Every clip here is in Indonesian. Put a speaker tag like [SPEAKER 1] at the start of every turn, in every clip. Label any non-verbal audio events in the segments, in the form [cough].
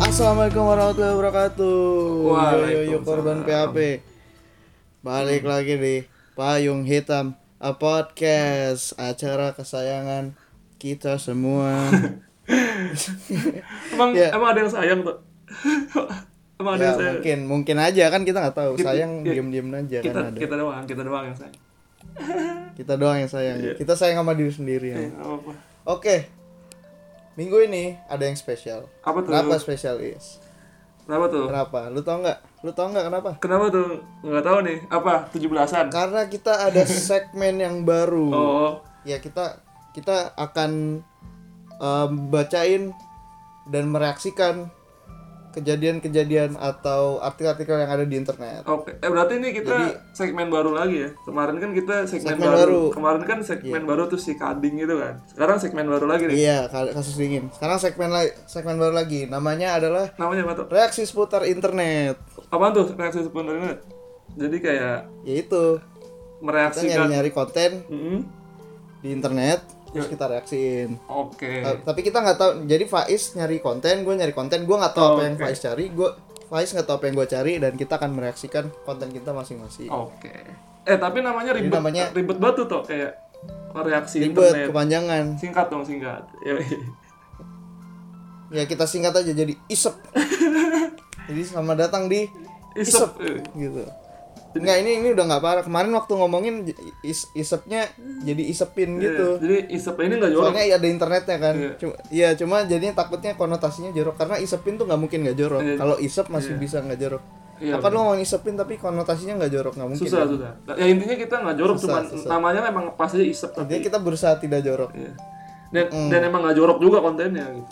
[SPEAKER 1] Assalamualaikum warahmatullahi wabarakatuh. Yo yo yo
[SPEAKER 2] Waalaikumsalam. Hmm.
[SPEAKER 1] korban PHP. Balik lagi di Payung Hitam a podcast acara kesayangan kita
[SPEAKER 2] [laughs]
[SPEAKER 1] semua.
[SPEAKER 2] Emang
[SPEAKER 1] Iya.
[SPEAKER 2] emang ada yang sayang tuh. [laughs] emang ada
[SPEAKER 1] ya
[SPEAKER 2] yang sayang.
[SPEAKER 1] mungkin mungkin aja kan kita nggak tahu. Sayang
[SPEAKER 2] Iya.
[SPEAKER 1] diem-diem aja
[SPEAKER 2] Kita
[SPEAKER 1] kan ada.
[SPEAKER 2] kita doang, kita doang yang sayang.
[SPEAKER 1] Kita doang yang sayang.
[SPEAKER 2] Iya.
[SPEAKER 1] Kita sayang sama diri sendiri. ya.
[SPEAKER 2] Eh, apa, apa.
[SPEAKER 1] Oke. Minggu ini ada yang spesial.
[SPEAKER 2] Apa tuh?
[SPEAKER 1] Kenapa spesial is?
[SPEAKER 2] Kenapa tuh?
[SPEAKER 1] Kenapa? Lu tau nggak? Lu tau nggak kenapa?
[SPEAKER 2] Kenapa tuh? Enggak tahu nih. Apa? 17-an.
[SPEAKER 1] Karena kita ada segmen yang baru.
[SPEAKER 2] Oh,
[SPEAKER 1] ya kita kita akan um, bacain dan mereaksikan kejadian-kejadian atau artikel-artikel yang ada di internet.
[SPEAKER 2] oke. Eh berarti ini kita segmen baru lagi ya. Kemarin kan kita segmen,
[SPEAKER 1] Segmen
[SPEAKER 2] baru.
[SPEAKER 1] baru. Iya.
[SPEAKER 2] Kemarin kan segmen baru tuh si Kading itu kan. Sekarang segmen baru lagi nih.
[SPEAKER 1] Iya, kal- kasus dingin. Sekarang segmen la- segmen baru lagi. Namanya adalah
[SPEAKER 2] Namanya apa tuh?
[SPEAKER 1] reaksi seputar internet.
[SPEAKER 2] Apaan tuh? Reaksi sebenarnya. Jadi kayak
[SPEAKER 1] Yaitu kita
[SPEAKER 2] mereaksikan.
[SPEAKER 1] nyari-nyari konten
[SPEAKER 2] Mm-mm.
[SPEAKER 1] di internet terus kita reaksiin.
[SPEAKER 2] Oke.
[SPEAKER 1] Eh, tapi kita nggak tahu. Jadi Faiz nyari konten, gue nyari konten, gue nggak tahu apa yang Faiz cari. Gue Faiz nggak tahu apa yang gue cari dan kita akan mereaksikan konten kita masing-masing.
[SPEAKER 2] Oke. Eh tapi namanya ribet
[SPEAKER 1] namanya-
[SPEAKER 2] ribet batu tuh kayak reaksi
[SPEAKER 1] Ribet
[SPEAKER 2] internet.
[SPEAKER 1] kepanjangan.
[SPEAKER 2] Singkat dong singkat. Yoi.
[SPEAKER 1] ya kita singkat aja jadi
[SPEAKER 2] [laughs]
[SPEAKER 1] isep jadi selamat datang di
[SPEAKER 2] [laughs] Isep.
[SPEAKER 1] gitu nggak ini ini udah nggak parah kemarin waktu ngomongin j- is, isepnya jadi isepin gitu
[SPEAKER 2] Eh, Jadi isep ini nggak Iya. jorok.
[SPEAKER 1] soalnya ada internetnya kan
[SPEAKER 2] Iya.
[SPEAKER 1] cuma iya cuma jadinya takutnya konotasinya jorok karena isepin tuh nggak mungkin nggak jorok
[SPEAKER 2] Iya.
[SPEAKER 1] kalau isep masih bisa nggak jorok
[SPEAKER 2] Iya,
[SPEAKER 1] apa lu ngomongin isepin tapi konotasinya nggak jorok nggak mungkin
[SPEAKER 2] Susah susah. Nah, Ya intinya kita nggak jorok
[SPEAKER 1] Susah,
[SPEAKER 2] cuman
[SPEAKER 1] susah.
[SPEAKER 2] namanya memang pas aja isep
[SPEAKER 1] jadi
[SPEAKER 2] tapi.
[SPEAKER 1] kita Hmm. berusaha tidak jorok
[SPEAKER 2] Iya. Dan dan emang nggak jorok juga kontennya gitu.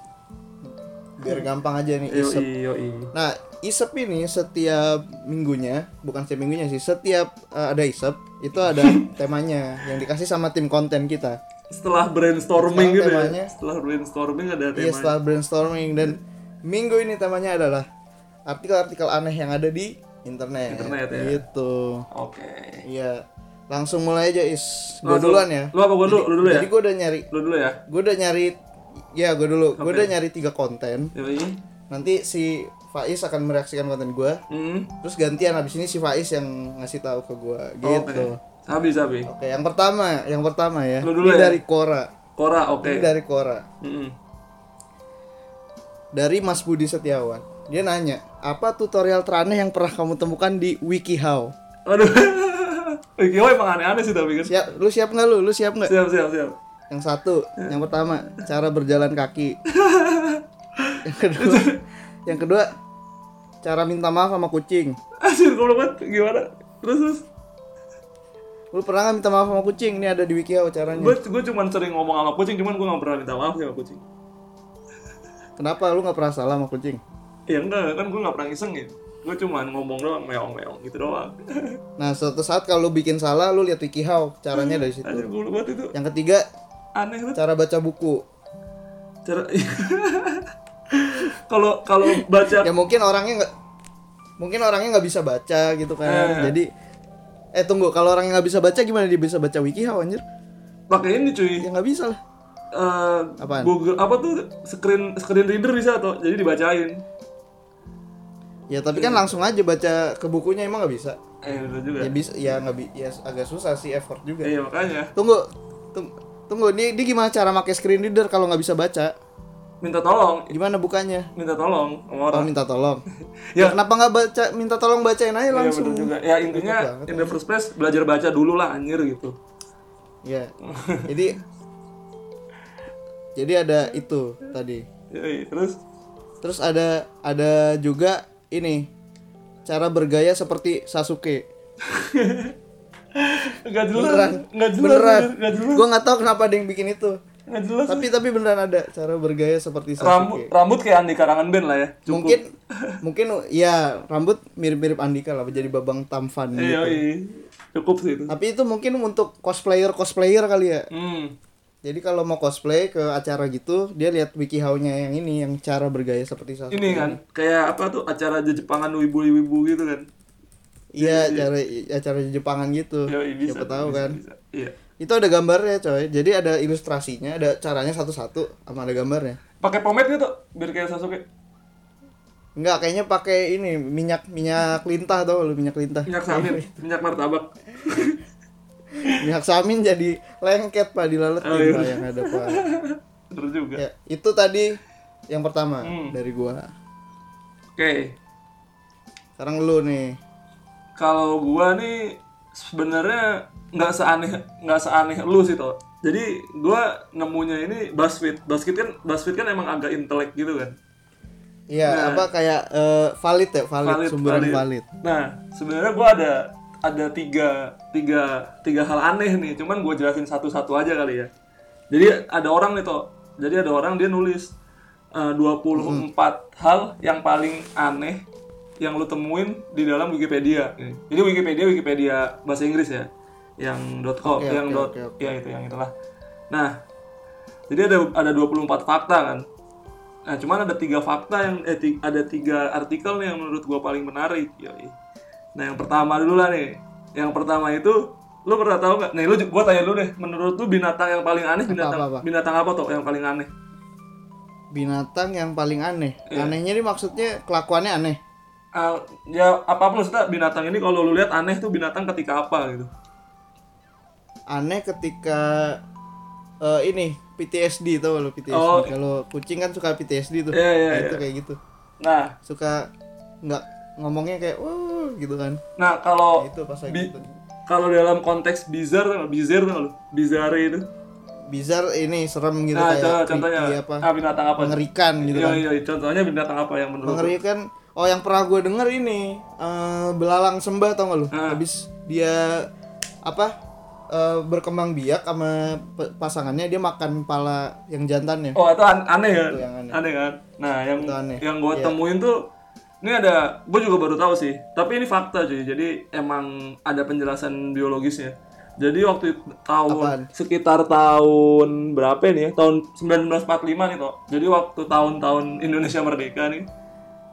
[SPEAKER 1] biar
[SPEAKER 2] Iya.
[SPEAKER 1] gampang aja nih isep
[SPEAKER 2] Yoi yoi.
[SPEAKER 1] Nah, isep ini setiap minggunya, bukan setiap minggunya sih, setiap eh, ada isep itu
[SPEAKER 2] [laughs]
[SPEAKER 1] ada temanya yang dikasih sama tim konten kita.
[SPEAKER 2] Setelah brainstorming
[SPEAKER 1] Sekarang
[SPEAKER 2] gitu
[SPEAKER 1] temanya-
[SPEAKER 2] ya. Setelah brainstorming ada
[SPEAKER 1] Iya,
[SPEAKER 2] tema.
[SPEAKER 1] setelah brainstorming dan minggu ini temanya adalah artikel-artikel aneh yang ada di internet.
[SPEAKER 2] Internet, ya.
[SPEAKER 1] Gitu.
[SPEAKER 2] Oke.
[SPEAKER 1] Iya. Langsung mulai aja is. Gue
[SPEAKER 2] Langsung.
[SPEAKER 1] duluan ya.
[SPEAKER 2] Lu apa gua dulu? Lu dulu ya.
[SPEAKER 1] Jadi gue udah nyari,
[SPEAKER 2] Lu dulu ya.
[SPEAKER 1] gue udah nyari, ya gue dulu, gue udah nyari tiga konten.
[SPEAKER 2] Yoi.
[SPEAKER 1] Nanti si Faiz akan mereaksikan konten gue.
[SPEAKER 2] Hmm.
[SPEAKER 1] Terus gantian abis ini si Faiz yang ngasih tahu ke gua gitu.
[SPEAKER 2] Oh, Oke. Sabi sabi.
[SPEAKER 1] Oke, yang pertama, yang pertama ya.
[SPEAKER 2] Lu dulu
[SPEAKER 1] ini
[SPEAKER 2] ya?
[SPEAKER 1] dari Kora.
[SPEAKER 2] Kora oke.
[SPEAKER 1] Ini
[SPEAKER 2] Hmm.
[SPEAKER 1] dari Kora.
[SPEAKER 2] Mm-mm.
[SPEAKER 1] Dari Mas Budi Setiawan. Dia nanya, "Apa tutorial teraneh yang pernah kamu temukan di WikiHow?"
[SPEAKER 2] Aduh. [laughs] Oke, oh emang aneh-aneh sih tapi kan.
[SPEAKER 1] Siap, lu siap nggak lu? Lu siap nggak?
[SPEAKER 2] Siap, siap, siap.
[SPEAKER 1] Yang satu, yang pertama, cara berjalan kaki. yang kedua, yang kedua, cara minta maaf sama kucing.
[SPEAKER 2] Anjir, goblok banget. Gimana? Terus, terus.
[SPEAKER 1] Lu pernah nggak minta maaf sama kucing? Ini ada di WikiHow caranya.
[SPEAKER 2] Gue gue cuman sering ngomong sama kucing, cuman gue gak pernah minta maaf sih sama kucing.
[SPEAKER 1] Kenapa lu nggak pernah salah sama kucing?
[SPEAKER 2] Ya enggak, kan gue gak pernah iseng gitu. Gue cuman ngomong doang, meong-meong gitu doang.
[SPEAKER 1] Nah, suatu saat kalau lu bikin salah, lu lihat WikiHow, caranya dari situ.
[SPEAKER 2] Anjir, goblok banget itu.
[SPEAKER 1] Yang ketiga,
[SPEAKER 2] Aneh banget.
[SPEAKER 1] cara baca buku.
[SPEAKER 2] Cara... [laughs] Kalau kalau baca...
[SPEAKER 1] Ya mungkin orangnya nggak mungkin orangnya nggak bisa baca gitu kan. Jadi eh tunggu, kalau orangnya nggak bisa baca gimana dia bisa baca WikiHow anjir?
[SPEAKER 2] pakai ini cuy
[SPEAKER 1] Ya nggak bisa lah.
[SPEAKER 2] Eh,
[SPEAKER 1] Apaan?
[SPEAKER 2] Google apa tuh screen screen reader bisa tuh jadi dibacain
[SPEAKER 1] Ya tapi kan langsung aja baca ke bukunya emang nggak bisa.
[SPEAKER 2] eh itu juga
[SPEAKER 1] Ya bisa ya nggak bi- ya agak susah sih effort juga.
[SPEAKER 2] iya makanya
[SPEAKER 1] Tunggu, tunggu, tunggu dia, dia gimana cara pakai screen reader kalau nggak bisa baca?
[SPEAKER 2] minta tolong
[SPEAKER 1] Gimana bukanya?
[SPEAKER 2] minta tolong sama orang
[SPEAKER 1] Oh minta tolong. ya
[SPEAKER 2] Ya.
[SPEAKER 1] kenapa nggak baca minta tolong bacain aja
[SPEAKER 2] Iya
[SPEAKER 1] langsung.
[SPEAKER 2] bener juga. Ya intinya
[SPEAKER 1] Betul banget,
[SPEAKER 2] in the first place belajar baca dulu lah anjir gitu.
[SPEAKER 1] Ya. Jadi jadi ada itu tadi.
[SPEAKER 2] Yoi, Ya, iya, terus
[SPEAKER 1] Terus ada ada juga ini cara bergaya seperti Sasuke.
[SPEAKER 2] nggak jelas,
[SPEAKER 1] Beneran.
[SPEAKER 2] nggak jelas,
[SPEAKER 1] Beneran.
[SPEAKER 2] nggak jelas,
[SPEAKER 1] Gua nggak tahu kenapa ada yang bikin itu.
[SPEAKER 2] nggak jelas.
[SPEAKER 1] Tapi tapi beneran ada cara bergaya seperti
[SPEAKER 2] Rambut
[SPEAKER 1] Sasuke.
[SPEAKER 2] rambut kayak Andi Karangan Band lah ya. Cukup.
[SPEAKER 1] Mungkin mungkin ya rambut mirip-mirip Andika lah jadi babang tamfan
[SPEAKER 2] Iya,
[SPEAKER 1] gitu.
[SPEAKER 2] yoi. cukup sih itu.
[SPEAKER 1] Tapi itu mungkin untuk cosplayer-cosplayer kali ya.
[SPEAKER 2] Hmm.
[SPEAKER 1] Jadi kalau mau cosplay ke acara gitu, dia lihat wikihow-nya yang ini yang cara bergaya seperti Sasuke.
[SPEAKER 2] Ini kan kayak apa tuh acara di Jepangan wibu-wibu gitu kan.
[SPEAKER 1] Iya, acara acara Jepangan gitu.
[SPEAKER 2] Yoi, Ya, iya, bisa.
[SPEAKER 1] Siapa tahu
[SPEAKER 2] bisa,
[SPEAKER 1] kan.
[SPEAKER 2] bisa. Iya.
[SPEAKER 1] Itu ada gambarnya, coy. Jadi ada ilustrasinya, ada caranya satu-satu sama ada gambarnya.
[SPEAKER 2] Pakai pomade gitu biar kayak Sasuke.
[SPEAKER 1] Enggak, kayaknya pakai ini minyak minyak lintah tau lu minyak lintah.
[SPEAKER 2] minyak samin
[SPEAKER 1] iya.
[SPEAKER 2] minyak martabak [laughs]
[SPEAKER 1] minyak samin jadi lengket pak dilaletin
[SPEAKER 2] Oh, iya.
[SPEAKER 1] Pak, yang ada pak.
[SPEAKER 2] terus juga
[SPEAKER 1] Ya, itu tadi yang pertama
[SPEAKER 2] Hmm.
[SPEAKER 1] dari gua.
[SPEAKER 2] oke
[SPEAKER 1] Sekarang lu nih.
[SPEAKER 2] kalau gua nih sebenarnya nggak seaneh nggak seaneh lu sih toh jadi gua nemunya ini Buzzfeed Buzzfeed kan Buzzfeed kan emang agak intelek gitu kan
[SPEAKER 1] Iya, apa kayak eh, valid ya, valid, sumberan valid.
[SPEAKER 2] nah sebenarnya gua ada ada tiga tiga tiga hal aneh nih cuman gua jelasin satu-satu aja kali ya jadi ada orang nih toh jadi ada orang dia nulis eh,
[SPEAKER 1] Hmm.
[SPEAKER 2] 24 hal yang paling aneh yang lu temuin di dalam Wikipedia. Jadi Wikipedia Wikipedia bahasa Inggris ya. Yang .com,
[SPEAKER 1] Oke, oke,
[SPEAKER 2] yang dot-
[SPEAKER 1] oke, oke.
[SPEAKER 2] ya itu yang itulah. Nah, jadi ada ada 24 fakta kan. Nah, cuman ada tiga fakta yang eh, ti- ada tiga artikel nih yang menurut gua paling menarik. Yoi. Nah, yang pertama dulu lah nih. Yang pertama itu lu pernah tahu nggak? Nih, lu ju- gua tanya lu deh, menurut lu binatang yang paling aneh binatang
[SPEAKER 1] apa, apa?
[SPEAKER 2] binatang apa tuh yang paling aneh?
[SPEAKER 1] Binatang yang paling aneh. Anehnya ini maksudnya kelakuannya aneh.
[SPEAKER 2] Ah, ya apapun maksudnya binatang ini kalau lu lihat aneh tuh binatang ketika apa gitu.
[SPEAKER 1] Aneh ketika eh, ini PTSD tau lu PTSD.
[SPEAKER 2] Oh.
[SPEAKER 1] Kalau kucing kan suka PTSD tuh.
[SPEAKER 2] Iya, iya,
[SPEAKER 1] Nah,
[SPEAKER 2] iya.
[SPEAKER 1] Itu kayak gitu.
[SPEAKER 2] Nah,
[SPEAKER 1] Suka nggak ngomongnya kayak wow gitu kan.
[SPEAKER 2] nah kalau
[SPEAKER 1] Itu pas lagi
[SPEAKER 2] Bi-
[SPEAKER 1] gitu.
[SPEAKER 2] kalau dalam konteks bizar tuh bizar tuh lu bizarre itu.
[SPEAKER 1] Bizarre ini serem gitu
[SPEAKER 2] Nah,
[SPEAKER 1] kayak
[SPEAKER 2] contoh-
[SPEAKER 1] creepy
[SPEAKER 2] contonya
[SPEAKER 1] apa.
[SPEAKER 2] ah, binatang apa?
[SPEAKER 1] Mengerikan gitu
[SPEAKER 2] Iya,
[SPEAKER 1] kan.
[SPEAKER 2] iya, contohnya binatang apa yang menurut lu?
[SPEAKER 1] Mengerikan. Oh yang pernah gue denger ini eh, belalang sembah tau gak lu?
[SPEAKER 2] Ah.
[SPEAKER 1] Habis dia apa eh, berkembang biak sama pe- pasangannya dia makan pala yang ya. jantannya.
[SPEAKER 2] Oh, itu an- aneh kan?
[SPEAKER 1] Itu yang
[SPEAKER 2] Aneh.
[SPEAKER 1] aneh.
[SPEAKER 2] kan? Nah, yang
[SPEAKER 1] Itu aneh.
[SPEAKER 2] yang gua
[SPEAKER 1] Iya.
[SPEAKER 2] temuin tuh ini ada gua juga baru tahu sih, tapi ini fakta cuy. Jadi emang ada penjelasan biologisnya. Jadi waktu itu- tahun sekitar tahun berapa nih ya? Tahun 1945 nih toh. Jadi waktu tahun-tahun Indonesia merdeka nih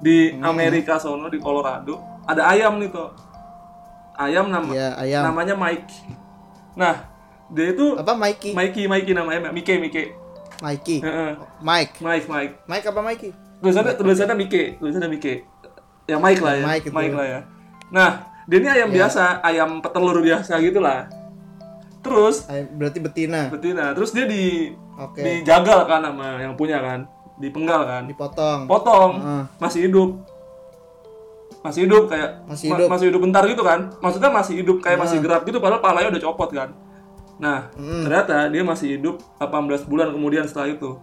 [SPEAKER 2] di
[SPEAKER 1] Hmm.
[SPEAKER 2] Amerika sono di Colorado ada ayam nih toh. Ayam nama
[SPEAKER 1] Iya ayam.
[SPEAKER 2] namanya Mike. Nah, dia itu
[SPEAKER 1] Apa Mikey?
[SPEAKER 2] Mikey Mikey namanya Mike Mike.
[SPEAKER 1] Mikey.
[SPEAKER 2] Heeh.
[SPEAKER 1] Mike.
[SPEAKER 2] Mike Mike.
[SPEAKER 1] Mike apa Mikey?
[SPEAKER 2] tulisannya tulisannya Mike tulisannya Mike ya Mike lah ya
[SPEAKER 1] Mike itu.
[SPEAKER 2] Mike,
[SPEAKER 1] Ya.
[SPEAKER 2] lah ya nah dia ini ayam biasa ayam petelur biasa gitu lah terus
[SPEAKER 1] Ayam, Eh, berarti betina.
[SPEAKER 2] betina terus dia di
[SPEAKER 1] Oke.
[SPEAKER 2] dijagal kan sama yang punya kan dipenggal kan
[SPEAKER 1] Dipotong.
[SPEAKER 2] potong
[SPEAKER 1] Heeh.
[SPEAKER 2] masih hidup masih hidup kayak
[SPEAKER 1] Masih
[SPEAKER 2] ma-
[SPEAKER 1] hidup. Ah.
[SPEAKER 2] masih hidup bentar gitu kan maksudnya masih hidup kayak masih gerak gitu padahal palanya udah copot kan nah
[SPEAKER 1] Hmm.
[SPEAKER 2] ternyata dia masih hidup 18 bulan kemudian setelah itu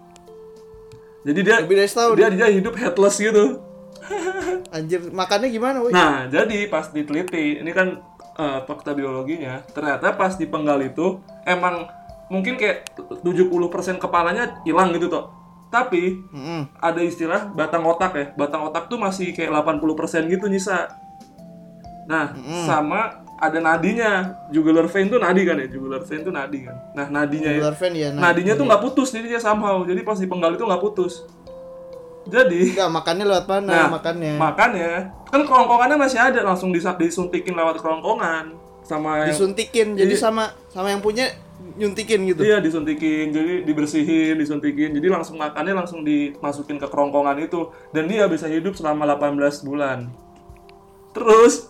[SPEAKER 2] jadi dia
[SPEAKER 1] Lebih dari setahun.
[SPEAKER 2] dia dia hidup headless gitu
[SPEAKER 1] Anjir makannya gimana? Woy?
[SPEAKER 2] Nah, jadi pas diteliti, ini kan eh, fakta biologinya, ternyata pas dipenggal itu emang mungkin kayak 70% kepalanya hilang gitu toh. Tapi
[SPEAKER 1] Mm-mm.
[SPEAKER 2] ada istilah batang otak ya. Batang otak tuh masih kayak 80% gitu nyisa. Nah, sama ada nadinya. Jugular vein tuh nadi kan ya. Jugular vein tuh nadi kan. Nah, nadinya ya.
[SPEAKER 1] Luar fan ya. Nah,
[SPEAKER 2] Nadinya tuh nggak putus jadinya somehow. Jadi pas dipenggal itu nggak putus. Jadi
[SPEAKER 1] Enggak makannya lewat mana?
[SPEAKER 2] Nah,
[SPEAKER 1] makannya.
[SPEAKER 2] Makanya kan kerongkongannya masih ada langsung disak disuntikin lewat kerongkongan sama yang
[SPEAKER 1] Disuntikin. Jadi sama sama yang punya nyuntikin gitu.
[SPEAKER 2] iya disuntikin jadi dibersihin disuntikin jadi langsung makannya langsung dimasukin ke kerongkongan itu dan dia bisa hidup selama 18 bulan. Terus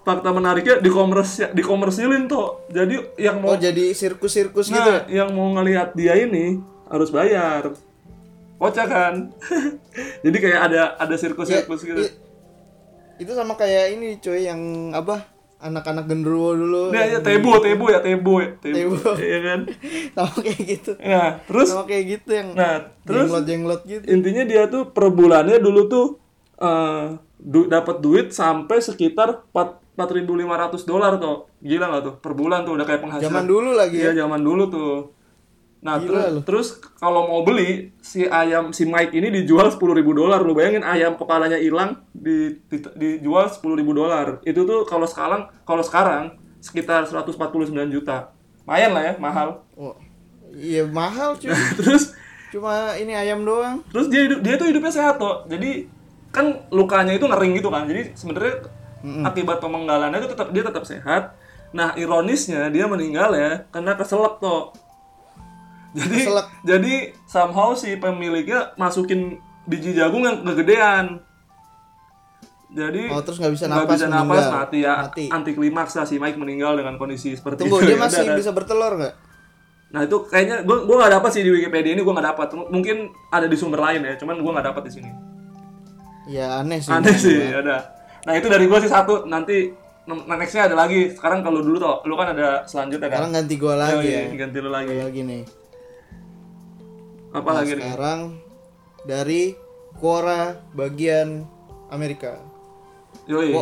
[SPEAKER 2] fakta menariknya dikomersi dikomersilin tuh jadi yang
[SPEAKER 1] Oh
[SPEAKER 2] mau
[SPEAKER 1] jadi sirkus-sirkus
[SPEAKER 2] nah,
[SPEAKER 1] gitu.
[SPEAKER 2] yang mau ngelihat dia ini harus bayar kocak kan [laughs] jadi kayak ada ada sirkus-sirkus gitu
[SPEAKER 1] I- itu sama kayak ini cuy yang apa anak-anak genderuwo dulu
[SPEAKER 2] Nah, ya, tebo, tebo ya, tebo ya, tebo.
[SPEAKER 1] Tebo.
[SPEAKER 2] Iya kan?
[SPEAKER 1] [laughs] sama kayak gitu
[SPEAKER 2] Nah, terus
[SPEAKER 1] sama kayak gitu yang
[SPEAKER 2] nah, terus
[SPEAKER 1] jenglot jenglot gitu
[SPEAKER 2] intinya dia tuh per bulannya dulu tuh eh du- dapat duit sampai sekitar 4 4.500 dolar tuh. Gila nggak tuh? Per bulan tuh udah kayak penghasilan.
[SPEAKER 1] zaman dulu lagi
[SPEAKER 2] Nah,
[SPEAKER 1] ya.
[SPEAKER 2] Iya, zaman dulu tuh. Nah, terus terus kalau mau beli si ayam si Mike ini dijual 10.000 dolar. Lu bayangin ayam kepalanya hilang di, di- dijual 10.000 dolar. Itu tuh kalau sekarang kalau sekarang sekitar 149 juta. Lumayan lah ya, mahal. [laughs]
[SPEAKER 1] oh, iya mahal cuy
[SPEAKER 2] terus
[SPEAKER 1] cuma ini ayam doang
[SPEAKER 2] terus dia hidup dia tuh hidupnya sehat tuh. Jadi kan lukanya itu ngering gitu kan. Jadi sebenarnya akibat pemenggalannya itu tetap dia tetap sehat. Nah, ironisnya dia meninggal ya karena keselak tuh. Jadi
[SPEAKER 1] Keselak.
[SPEAKER 2] jadi somehow si pemiliknya masukin biji jagung yang kegedean. Jadi
[SPEAKER 1] Oh, terus nggak bisa
[SPEAKER 2] nggak
[SPEAKER 1] napas
[SPEAKER 2] bisa napas
[SPEAKER 1] meninggal.
[SPEAKER 2] mati ya.
[SPEAKER 1] Mati.
[SPEAKER 2] Anti klimaks lah si Mike meninggal dengan kondisi seperti
[SPEAKER 1] Tunggu, dia
[SPEAKER 2] itu. Ya,
[SPEAKER 1] masih
[SPEAKER 2] udah, udah.
[SPEAKER 1] bisa bertelur nggak?
[SPEAKER 2] Nah itu kayaknya gue gua nggak dapat sih di Wikipedia ini gue nggak dapat. M- Mungkin ada di sumber lain ya, cuman gue nggak dapat di sini.
[SPEAKER 1] Ya aneh sih.
[SPEAKER 2] Aneh sih, ada. Nah itu dari gue sih satu. Nanti n- nextnya ada lagi. Sekarang kalau dulu tau, lu kan ada selanjutnya kan.
[SPEAKER 1] Sekarang ganti gua lagi ya.
[SPEAKER 2] Yoi, ganti lu lagi.
[SPEAKER 1] Gua lagi nih.
[SPEAKER 2] Apa lagi nih?
[SPEAKER 1] Sekarang dari Quora bagian Amerika.
[SPEAKER 2] Yoi.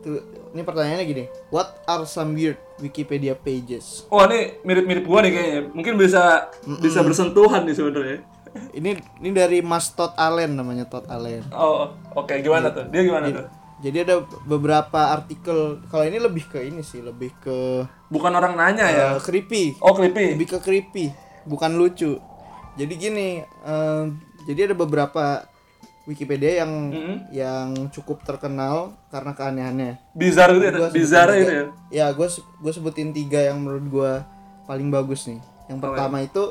[SPEAKER 1] Tuh, ini pertanyaannya gini. What are some weird Wikipedia pages?
[SPEAKER 2] Wah ini mirip-mirip gua nih kayaknya. Mungkin bisa bisa bersentuhan nih sebenarnya.
[SPEAKER 1] Ini ini dari Mas Todd Allen namanya Todd Allen.
[SPEAKER 2] Oh oke
[SPEAKER 1] Iya.
[SPEAKER 2] gimana tuh? Dia gimana tuh?
[SPEAKER 1] Jadi ada beberapa artikel. Kalau ini lebih ke ini sih, lebih ke
[SPEAKER 2] Bukan orang nanya ya.
[SPEAKER 1] eh, creepy.
[SPEAKER 2] Oh creepy.
[SPEAKER 1] lebih ke creepy bukan lucu jadi gini em, jadi ada beberapa Wikipedia yang
[SPEAKER 2] Mm-mm.
[SPEAKER 1] yang cukup terkenal karena keanehannya
[SPEAKER 2] Bizarre gitu ya.
[SPEAKER 1] Gua
[SPEAKER 2] Bizarre
[SPEAKER 1] sebutin
[SPEAKER 2] gitu ya.
[SPEAKER 1] tiga- ya gue gue sebutin tiga yang menurut gue paling bagus nih yang pertama itu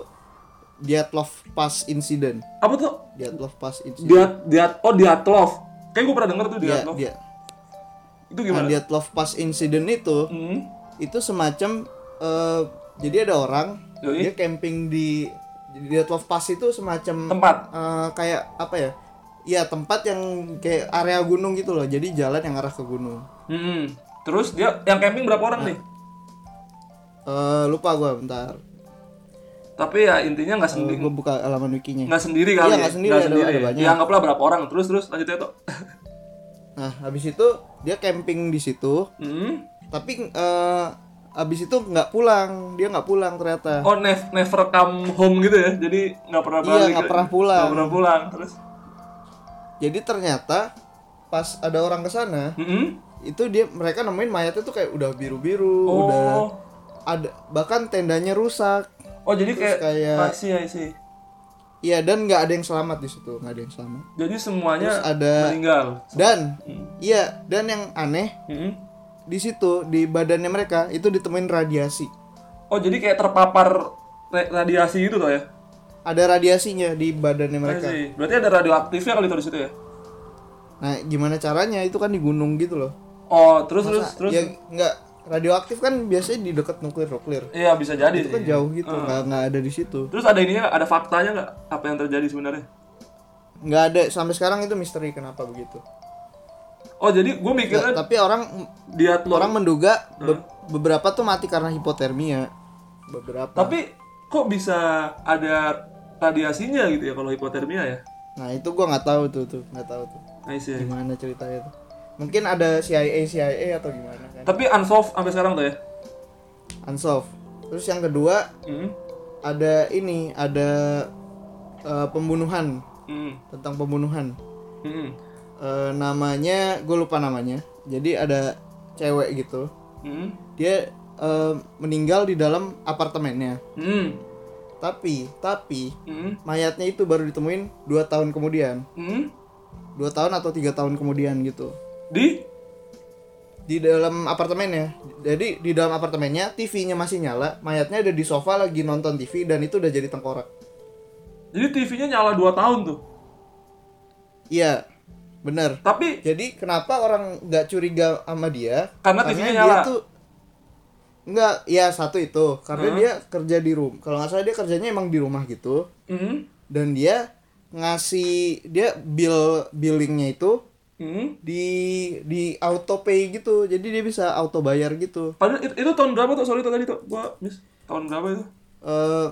[SPEAKER 1] Dyatlov Pass Incident
[SPEAKER 2] Apa tuh?
[SPEAKER 1] Dyatlov Pass Incident
[SPEAKER 2] Dia dia oh dia love. Kayak gua pernah denger tuh dia
[SPEAKER 1] dia,
[SPEAKER 2] love.
[SPEAKER 1] dia,
[SPEAKER 2] Itu
[SPEAKER 1] nah,
[SPEAKER 2] gimana?
[SPEAKER 1] Dyatlov Pass Incident itu
[SPEAKER 2] Hmm.
[SPEAKER 1] itu semacam eh, jadi ada orang
[SPEAKER 2] Yoi.
[SPEAKER 1] dia camping di Dyatlov Pass itu semacam
[SPEAKER 2] Tempat.
[SPEAKER 1] eh, kayak apa ya? Iya tempat yang kayak area gunung gitu loh. Jadi jalan yang arah ke gunung.
[SPEAKER 2] Hmm. Terus dia yang camping berapa orang nih?
[SPEAKER 1] Eh lupa gua bentar.
[SPEAKER 2] Tapi ya intinya nggak
[SPEAKER 1] Eh,
[SPEAKER 2] sendiri.
[SPEAKER 1] gua buka halaman wikinya.
[SPEAKER 2] Nggak sendiri kali
[SPEAKER 1] Iya,
[SPEAKER 2] ya.
[SPEAKER 1] nggak sendiri, ada- ada banyak.
[SPEAKER 2] Ya anggaplah berapa orang. Terus terus ya, lanjutnya tuh.
[SPEAKER 1] Nah habis itu dia camping di situ.
[SPEAKER 2] [laughs] Hmm.
[SPEAKER 1] Tapi eh habis itu nggak pulang. Dia nggak pulang ternyata.
[SPEAKER 2] Oh nev- never come home gitu ya. Jadi nggak pernah
[SPEAKER 1] Iya,
[SPEAKER 2] balik.
[SPEAKER 1] nggak
[SPEAKER 2] ya?
[SPEAKER 1] pernah pulang.
[SPEAKER 2] Nggak pernah pulang. Terus.
[SPEAKER 1] Jadi ternyata pas ada orang ke sana
[SPEAKER 2] Hmm.
[SPEAKER 1] itu dia mereka nemuin mayatnya tuh kayak udah biru-biru,
[SPEAKER 2] Oh.
[SPEAKER 1] udah ada bahkan tendanya rusak.
[SPEAKER 2] Oh jadi
[SPEAKER 1] Terus
[SPEAKER 2] kayak,
[SPEAKER 1] kayak-
[SPEAKER 2] I see, I see.
[SPEAKER 1] Iya dan nggak ada yang selamat di situ, nggak ada yang selamat.
[SPEAKER 2] Jadi semuanya
[SPEAKER 1] Terus ada-
[SPEAKER 2] meninggal.
[SPEAKER 1] Dan
[SPEAKER 2] Hmm.
[SPEAKER 1] iya dan yang aneh
[SPEAKER 2] Hmm.
[SPEAKER 1] di situ di badannya mereka itu ditemuin radiasi
[SPEAKER 2] Oh jadi kayak terpapar ra- radiasi gitu loh ya?
[SPEAKER 1] ada radiasinya di badannya mereka
[SPEAKER 2] I see. Berarti ada radioaktifnya kali tuh di situ ya?
[SPEAKER 1] nah gimana caranya itu kan di gunung gitu loh
[SPEAKER 2] Oh terus
[SPEAKER 1] Masa-
[SPEAKER 2] terus terus.
[SPEAKER 1] ya nggak radioaktif kan biasanya di dekat nuklir nuklir
[SPEAKER 2] Iya Ah. bisa jadi.
[SPEAKER 1] itu kan
[SPEAKER 2] sih.
[SPEAKER 1] jauh gitu nggak nggak ada di situ
[SPEAKER 2] Terus ada ininya, ada faktanya nggak apa yang terjadi sebenarnya?
[SPEAKER 1] nggak ada sampai sekarang itu misteri kenapa begitu
[SPEAKER 2] Oh jadi gue
[SPEAKER 1] Nggak,
[SPEAKER 2] mikirnya
[SPEAKER 1] tapi orang
[SPEAKER 2] dia telur.
[SPEAKER 1] orang menduga be-
[SPEAKER 2] Iya.
[SPEAKER 1] beberapa tuh mati karena hipotermia beberapa
[SPEAKER 2] Tapi kok bisa ada radiasinya gitu ya kalau hipotermia ya?
[SPEAKER 1] nah itu gua nggak tahu tuh tuh nggak tahu tuh
[SPEAKER 2] I see.
[SPEAKER 1] gimana ceritanya tuh mungkin ada CIA CIA atau gimana kan
[SPEAKER 2] Tapi unsolved sampai sekarang tuh ya?
[SPEAKER 1] unsolved terus yang kedua
[SPEAKER 2] Hmm.
[SPEAKER 1] ada ini ada eh, pembunuhan
[SPEAKER 2] Hmm.
[SPEAKER 1] tentang pembunuhan
[SPEAKER 2] Hmm.
[SPEAKER 1] Eh, namanya gue lupa namanya jadi ada cewek gitu
[SPEAKER 2] Hmm.
[SPEAKER 1] dia eh, meninggal di dalam apartemennya
[SPEAKER 2] Hmm.
[SPEAKER 1] tapi tapi
[SPEAKER 2] Hmm.
[SPEAKER 1] mayatnya itu baru ditemuin dua tahun kemudian
[SPEAKER 2] Hmm.
[SPEAKER 1] dua tahun atau tiga tahun kemudian gitu
[SPEAKER 2] Di?
[SPEAKER 1] di dalam apartemennya jadi di dalam apartemennya TV-nya masih nyala mayatnya ada di sofa lagi nonton TV dan itu udah jadi tengkorak
[SPEAKER 2] Jadi TV-nya nyala 2 tahun tuh.
[SPEAKER 1] iya bener
[SPEAKER 2] Tapi
[SPEAKER 1] Jadi kenapa orang nggak curiga sama dia?
[SPEAKER 2] Karena TV-nya nyala.
[SPEAKER 1] Dia tuh nggak, ya satu itu karena dia kerja di room. Kalau nggak salah dia kerjanya emang di rumah gitu
[SPEAKER 2] Hmm.
[SPEAKER 1] dan dia ngasih dia bill billingnya itu
[SPEAKER 2] Hmm.
[SPEAKER 1] di di auto pay gitu. Jadi dia bisa auto bayar gitu.
[SPEAKER 2] Padahal itu, itu tahun berapa tuh? Sorry tuh tadi tuh. Gua miss. Tahun berapa itu?
[SPEAKER 1] Eh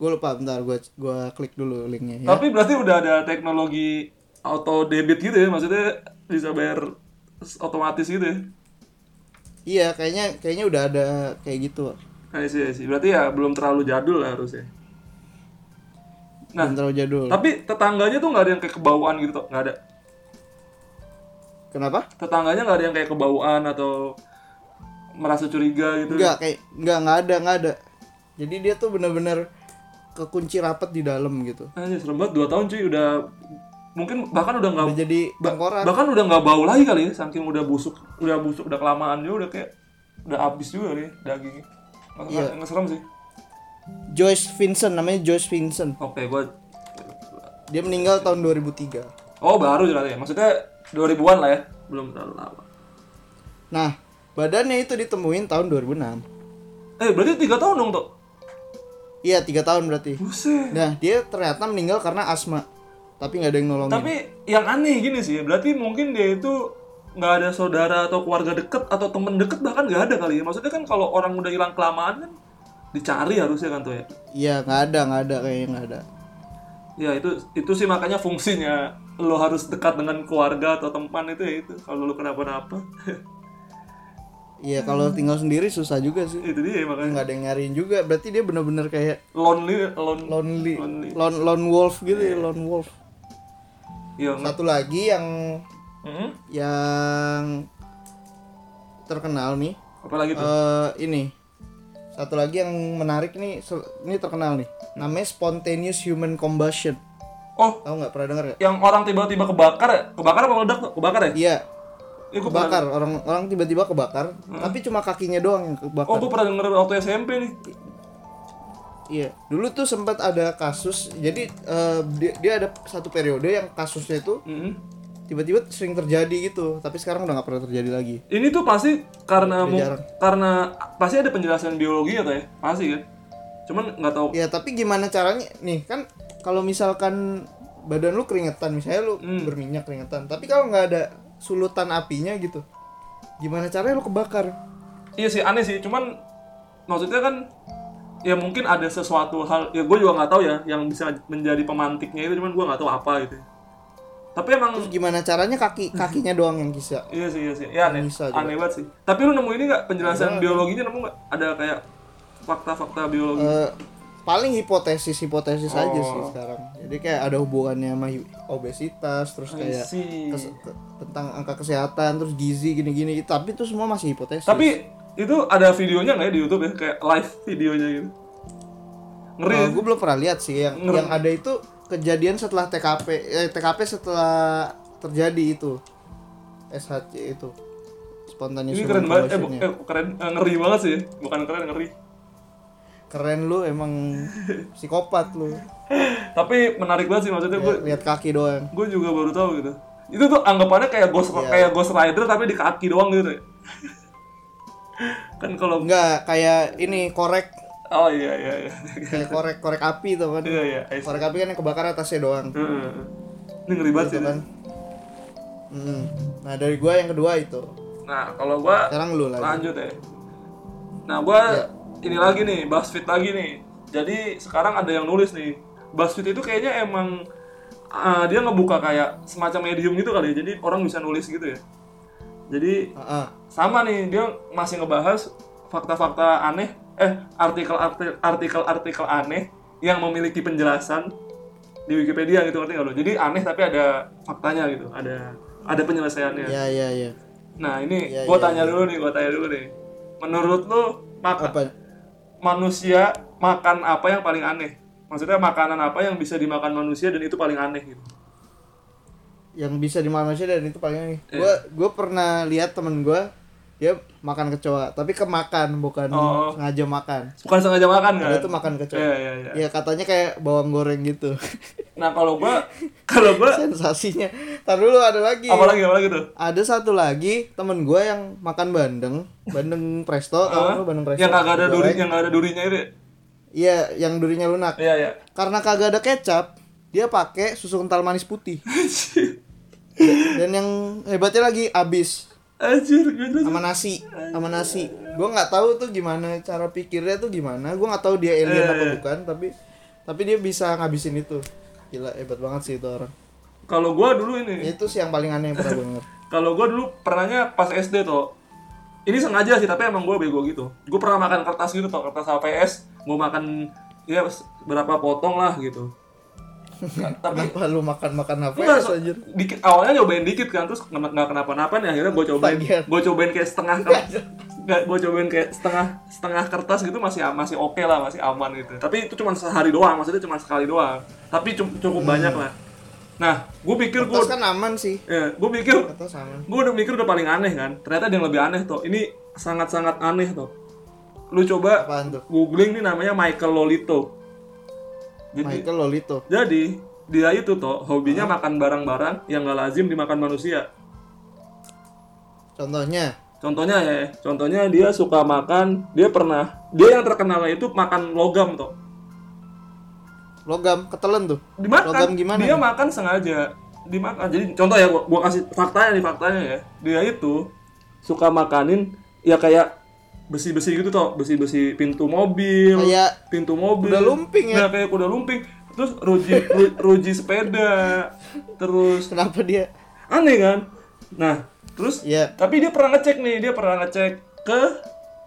[SPEAKER 1] gue lupa bentar gue gua klik dulu linknya ya.
[SPEAKER 2] Tapi berarti udah ada teknologi auto debit gitu ya. Maksudnya bisa bayar s- otomatis gitu ya.
[SPEAKER 1] Iya, kayaknya kayaknya udah ada kayak gitu.
[SPEAKER 2] I see, I see. Berarti ya belum terlalu jadul lah harusnya. Nah,
[SPEAKER 1] Belum terlalu jadul.
[SPEAKER 2] tapi tetangganya tuh nggak ada yang kayak kebauan gitu tuh. Nggak ada.
[SPEAKER 1] Kenapa?
[SPEAKER 2] Tetangganya nggak ada yang kayak kebauan atau merasa curiga gitu.
[SPEAKER 1] Enggak kayak enggak enggak ada enggak ada. Jadi dia tuh bener-bener kekunci rapat di dalam gitu.
[SPEAKER 2] Anjir, serem banget. Dua tahun cuy udah... Mungkin bahkan udah nggak
[SPEAKER 1] Udah jadi tengkorak.
[SPEAKER 2] bahkan udah nggak bau lagi kali ya saking udah busuk udah busuk udah kelamaan juga udah kayak udah abis juga nih dagingnya Nggak- nggak nggak serem sih
[SPEAKER 1] Joyce Vincent namanya Joyce Vincent.
[SPEAKER 2] oke gua
[SPEAKER 1] Dia meninggal tahun 2003.
[SPEAKER 2] oh baru ternyata ya maksudnya 2000-an lah ya belum terlalu lama.
[SPEAKER 1] Nah, badannya itu ditemuin tahun 2006.
[SPEAKER 2] Eh berarti tiga tahun dong Tok?
[SPEAKER 1] Iya, tiga tahun berarti.
[SPEAKER 2] Buset.
[SPEAKER 1] Nah, dia ternyata meninggal karena asma. Tapi nggak ada yang nolongin.
[SPEAKER 2] Tapi yang aneh gini sih, berarti mungkin dia itu nggak ada saudara atau keluarga deket atau temen deket bahkan nggak ada kali ya. Maksudnya kan kalau orang udah hilang kelamaan kan dicari harusnya kan tuh ya.
[SPEAKER 1] Iya, nggak ada, nggak ada kayaknya nggak ada.
[SPEAKER 2] Ya itu itu sih makanya fungsinya lo harus dekat dengan keluarga atau teman itu ya itu kalau lo kenapa-napa [laughs]
[SPEAKER 1] Iya,
[SPEAKER 2] Hmm.
[SPEAKER 1] kalau tinggal sendiri susah juga sih.
[SPEAKER 2] itu dia makanya
[SPEAKER 1] Nggak ada yang nyariin juga. Berarti dia bener-bener kayak
[SPEAKER 2] lonely lon
[SPEAKER 1] lonely,
[SPEAKER 2] Lonely. Iya.
[SPEAKER 1] lone, lone wolf gitu ya, lone wolf.
[SPEAKER 2] ya nggak-
[SPEAKER 1] Satu lagi yang
[SPEAKER 2] Mm-mm.
[SPEAKER 1] yang terkenal nih
[SPEAKER 2] apalagi tuh
[SPEAKER 1] eh ini satu lagi yang menarik nih se- ini terkenal nih namanya spontaneous human combustion
[SPEAKER 2] oh
[SPEAKER 1] tahu nggak pernah dengar nggak?
[SPEAKER 2] yang orang tiba-tiba kebakar ya kebakar apa meledak Tok? kebakar ya
[SPEAKER 1] iya
[SPEAKER 2] Iya, gua pernah- Hmm.
[SPEAKER 1] kebakar orang orang tiba-tiba kebakar tapi cuma kakinya doang yang kebakar
[SPEAKER 2] oh gue pernah denger waktu SMP nih
[SPEAKER 1] Iya, dulu tuh sempat ada kasus. Jadi eh, dia, dia ada satu periode yang kasusnya itu
[SPEAKER 2] Mm-mm.
[SPEAKER 1] tiba-tiba sering terjadi gitu. Tapi sekarang udah nggak pernah terjadi lagi.
[SPEAKER 2] ini tuh pasti
[SPEAKER 1] Udah
[SPEAKER 2] karena mu-
[SPEAKER 1] jarang.
[SPEAKER 2] karena pasti ada penjelasan biologi ya Tok, ya pasti kan cuman nggak tahu
[SPEAKER 1] Ya, tapi gimana caranya? Nih kan kalau misalkan badan lu keringetan, misalnya lu berminyak keringetan, tapi kalau nggak ada sulutan apinya gitu, gimana caranya lu kebakar?
[SPEAKER 2] Iya sih aneh sih, cuman maksudnya kan ya mungkin ada sesuatu hal ya gue juga nggak tahu ya yang bisa menjadi pemantiknya itu cuman gue nggak tahu apa gitu. Tapi emang
[SPEAKER 1] Terus gimana caranya kaki kakinya doang yang bisa?
[SPEAKER 2] iya sih iya sih, ya aneh,
[SPEAKER 1] Bisa juga.
[SPEAKER 2] aneh banget sih. Tapi lu nemu ini nggak penjelasan biologinya nemu nggak? Ada kayak fakta-fakta biologi?
[SPEAKER 1] Eh, paling hipotesis hipotesis aja sih
[SPEAKER 2] Oh.
[SPEAKER 1] sekarang. Jadi kayak ada hubungannya sama hi- obesitas, terus Eh, kayak
[SPEAKER 2] sih.
[SPEAKER 1] kes- ke- tentang angka kesehatan terus gizi gini-gini tapi itu semua masih hipotesis
[SPEAKER 2] Tapi itu ada videonya nggak ya di YouTube ya kayak live videonya gitu? Ngeri. ya?
[SPEAKER 1] gue belum pernah lihat sih yang yang ada itu kejadian setelah TKP eh, TKP setelah terjadi itu SHC itu spontaneous
[SPEAKER 2] ini
[SPEAKER 1] human
[SPEAKER 2] keren banget, eh, bu-
[SPEAKER 1] combustion-nya.
[SPEAKER 2] eh, keren eh, ngeri banget sih, ya. bukan keren ngeri. [laughs]
[SPEAKER 1] keren lu emang psikopat
[SPEAKER 2] [laughs]
[SPEAKER 1] lu
[SPEAKER 2] Tapi menarik banget sih maksudnya gue
[SPEAKER 1] lihat kaki doang
[SPEAKER 2] gue juga baru tahu gitu itu tuh anggapannya kayak ghost kayak ghost rider tapi di kaki doang gitu ya. [laughs] kan kalau
[SPEAKER 1] enggak kayak ini korek
[SPEAKER 2] oh iya iya iya [laughs]
[SPEAKER 1] kayak korek korek api tuh kan
[SPEAKER 2] iya iya I see.
[SPEAKER 1] korek api kan yang kebakar atasnya doang
[SPEAKER 2] Heeh. ini ngeri banget sih
[SPEAKER 1] gitu kan Mm. nah dari gua yang kedua itu
[SPEAKER 2] nah kalau gua
[SPEAKER 1] sekarang lu lagi
[SPEAKER 2] lanjut ya nah gua ini lagi nih BuzzFeed lagi nih jadi sekarang ada yang nulis nih BuzzFeed itu kayaknya emang ah, dia ngebuka kayak semacam medium gitu kali ya jadi orang bisa nulis gitu ya jadi
[SPEAKER 1] Ah, ah.
[SPEAKER 2] sama nih dia masih ngebahas fakta-fakta aneh eh artikel artikel artikel artikel aneh yang memiliki penjelasan di Wikipedia gitu ngerti nggak lo? Jadi aneh tapi ada faktanya gitu, ada ada penyelesaiannya.
[SPEAKER 1] ya ya ya
[SPEAKER 2] Nah ini
[SPEAKER 1] Ya,
[SPEAKER 2] gua
[SPEAKER 1] ya,
[SPEAKER 2] tanya dulu nih, gua tanya dulu nih. Menurut lo maka
[SPEAKER 1] apa
[SPEAKER 2] manusia makan apa yang paling aneh? Maksudnya makanan apa yang bisa dimakan manusia dan itu paling aneh gitu?
[SPEAKER 1] yang bisa dimakan manusia dan itu paling
[SPEAKER 2] Iya.
[SPEAKER 1] aneh. Gua gua pernah lihat temen gua dia makan kecoa, tapi kemakan bukan
[SPEAKER 2] Oh.
[SPEAKER 1] sengaja makan.
[SPEAKER 2] Bukan sengaja makan kan?
[SPEAKER 1] Dia tuh makan kecoa.
[SPEAKER 2] Iya iya iya.
[SPEAKER 1] Ya katanya kayak bawang goreng gitu. [laughs]
[SPEAKER 2] Nah kalau gua [laughs] kalau gua
[SPEAKER 1] Sensasinya. Tar dulu ada lagi.
[SPEAKER 2] apalagi apalagi tuh?
[SPEAKER 1] Ada satu lagi temen gua yang makan bandeng, bandeng presto, tau lu bandeng presto.
[SPEAKER 2] yang kagak ada duri
[SPEAKER 1] Goreng.
[SPEAKER 2] yang kagak ada durinya itu ya?
[SPEAKER 1] Iya, yang durinya lunak.
[SPEAKER 2] iya iya [laughs]
[SPEAKER 1] Karena kagak ada kecap, dia pakai susu kental manis putih.
[SPEAKER 2] [laughs]
[SPEAKER 1] Dan yang hebatnya lagi abis
[SPEAKER 2] anjir gue terus
[SPEAKER 1] sama nasi sama nasi gue nggak tahu tuh gimana cara pikirnya tuh gimana gue nggak tahu dia alien apa
[SPEAKER 2] Eh.
[SPEAKER 1] bukan tapi tapi dia bisa ngabisin itu gila hebat banget sih itu orang
[SPEAKER 2] kalau gua dulu ini
[SPEAKER 1] itu sih yang paling aneh yang pernah gue
[SPEAKER 2] [laughs]
[SPEAKER 1] denger
[SPEAKER 2] kalau gua dulu pernahnya pas SD tuh ini sengaja sih tapi emang gua bego gitu gua pernah makan kertas gitu tuh kertas HPS gua makan ya berapa potong lah
[SPEAKER 1] [laughs]
[SPEAKER 2] gitu tapi
[SPEAKER 1] kenapa lu makan makan apa ya
[SPEAKER 2] Enggak, so-
[SPEAKER 1] anjir
[SPEAKER 2] dikit awalnya nyobain dikit kan terus nggak nggak kenapa-napa nih akhirnya gue cobain
[SPEAKER 1] Bagian.
[SPEAKER 2] gue cobain kayak setengah
[SPEAKER 1] [laughs]
[SPEAKER 2] kertas nggak gue cobain kayak setengah setengah kertas gitu masih masih oke lah masih aman gitu tapi itu cuma sehari doang maksudnya cuma sekali doang tapi cu- cukup banyak lah nah gue pikir gue
[SPEAKER 1] terus Hmm. kan aman sih
[SPEAKER 2] ya, gue pikir
[SPEAKER 1] terus aman
[SPEAKER 2] gue udah mikir udah paling aneh kan ternyata ada yang lebih aneh toh ini sangat-sangat aneh toh lu coba
[SPEAKER 1] apaan tuh
[SPEAKER 2] googling nih namanya Michael Lolito jadi
[SPEAKER 1] Michael Lolito
[SPEAKER 2] jadi dia itu toh hobinya makan barang-barang yang gak lazim dimakan manusia.
[SPEAKER 1] Contohnya,
[SPEAKER 2] Contohnya ya, contohnya dia suka makan, dia pernah, dia yang terkenal itu makan logam toh.
[SPEAKER 1] logam ketelen tuh.
[SPEAKER 2] Dimakan.
[SPEAKER 1] Logam gimana?
[SPEAKER 2] Dia makan sengaja dimakan. Jadi contoh ya, gua, gua kasih faktanya nih faktanya ya. Dia itu suka makanin ya kayak besi-besi gitu toh, besi-besi pintu mobil,
[SPEAKER 1] Kayak
[SPEAKER 2] pintu mobil.
[SPEAKER 1] Oh, iya. kuda lumping ya?
[SPEAKER 2] Nah, kayak kuda lumping. Terus ruji ru- ruji sepeda. Terus
[SPEAKER 1] Kenapa dia?
[SPEAKER 2] aneh kan nah terus
[SPEAKER 1] Iya.
[SPEAKER 2] tapi dia pernah ngecek nih dia pernah ngecek ke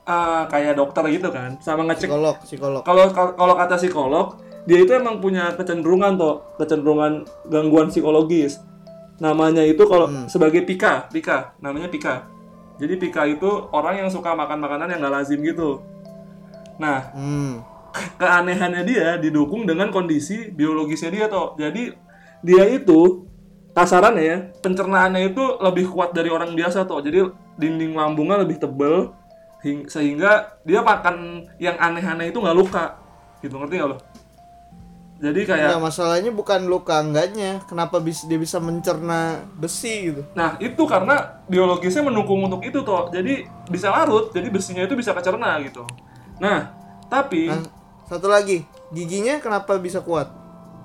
[SPEAKER 2] ah, kayak dokter gitu kan sama ngecek
[SPEAKER 1] Psikolog, psikolog.
[SPEAKER 2] kalau kalau kata psikolog dia itu emang punya kecenderungan toh kecenderungan gangguan psikologis namanya itu kalau sebagai pika pika namanya pika jadi pika itu orang yang suka makan makanan yang nggak lazim gitu nah
[SPEAKER 1] Hmm.
[SPEAKER 2] keanehannya dia didukung dengan kondisi biologisnya dia toh. Jadi dia itu kasarannya ya, pencernaannya itu lebih kuat dari orang biasa toh. Jadi dinding lambungnya lebih tebel hing- sehingga dia makan yang aneh-aneh itu nggak luka. Gitu ngerti nggak lo? Jadi
[SPEAKER 1] Ya
[SPEAKER 2] kayak
[SPEAKER 1] masalahnya bukan luka enggaknya, kenapa bis- dia bisa mencerna besi gitu.
[SPEAKER 2] Nah, itu karena biologisnya mendukung untuk itu toh. Jadi bisa larut, jadi besinya itu bisa kecerna gitu. Nah, tapi
[SPEAKER 1] Nah, satu lagi, giginya kenapa bisa kuat?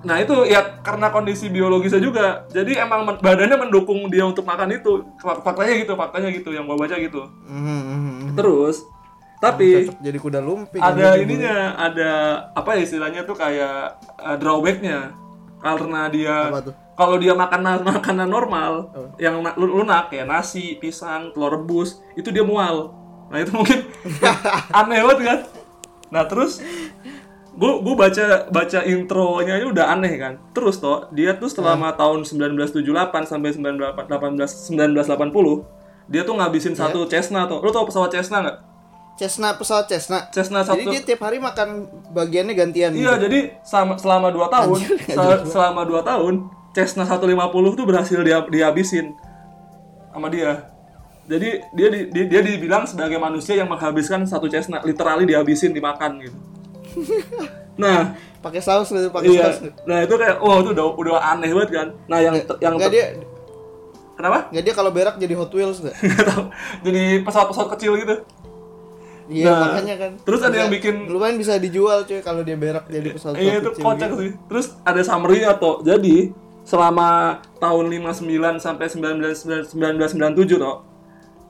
[SPEAKER 2] Nah itu ya karena kondisi biologisnya juga. Jadi emang men- badannya mendukung dia untuk makan itu. Fak- Faktanya gitu, faktanya gitu yang gua baca gitu.
[SPEAKER 1] Mhm, mhm, mhm.
[SPEAKER 2] Terus tapi
[SPEAKER 1] Cocok jadi kuda lumping.
[SPEAKER 2] Iya. ada
[SPEAKER 1] Jadi
[SPEAKER 2] ininya, ada apa ya istilahnya tuh kayak uh, drawbacknya karena dia
[SPEAKER 1] Apa tuh?
[SPEAKER 2] kalau dia makan [laughs] makanan normal
[SPEAKER 1] Oh.
[SPEAKER 2] yang na- lu- lunak kayak nasi, pisang, telur rebus itu dia mual. Nah itu
[SPEAKER 1] [laughs]
[SPEAKER 2] mungkin aneh banget kan. Nah terus gua gua baca baca intronya aja udah aneh kan. Terus toh dia tuh
[SPEAKER 1] Hmm.
[SPEAKER 2] selama tahun 1978 sampai 19, 18 1980 dia tuh ngabisin
[SPEAKER 1] Iya.
[SPEAKER 2] satu Cessna tuh. Lu tau pesawat Cessna nggak?
[SPEAKER 1] Cessna pesawat Cessna.
[SPEAKER 2] Cessna
[SPEAKER 1] Jadi
[SPEAKER 2] satu.
[SPEAKER 1] dia tiap hari makan bagiannya gantian. gitu.
[SPEAKER 2] Iya, jadi sama, selama 2 tahun, sel- selama 2 tahun Cessna 150 tuh berhasil dia dihabisin sama dia. Jadi dia di- di- dia dibilang sebagai manusia yang menghabiskan satu Cessna, literally dihabisin dimakan gitu. Nah,
[SPEAKER 1] Pakai saus gitu, pakai
[SPEAKER 2] iya.
[SPEAKER 1] saus.
[SPEAKER 2] Nah, itu kayak wah itu udah udah aneh banget kan. Nah, yang ter- yang
[SPEAKER 1] Enggak dia
[SPEAKER 2] ter- kenapa? [laughs]
[SPEAKER 1] enggak dia kalau berak jadi Hot Wheels gitu. enggak?
[SPEAKER 2] Nggak tahu. Jadi pesawat-pesawat kecil gitu.
[SPEAKER 1] Iya,
[SPEAKER 2] Nah,
[SPEAKER 1] makanya kan.
[SPEAKER 2] terus ada
[SPEAKER 1] Bisa-
[SPEAKER 2] yang bikin-
[SPEAKER 1] lumayan bisa dijual cuy kalau dia berak jadi pesawat
[SPEAKER 2] Iya itu kocak sih. Terus ada summary atau jadi selama tahun 59 sampai 1999 1997 toh.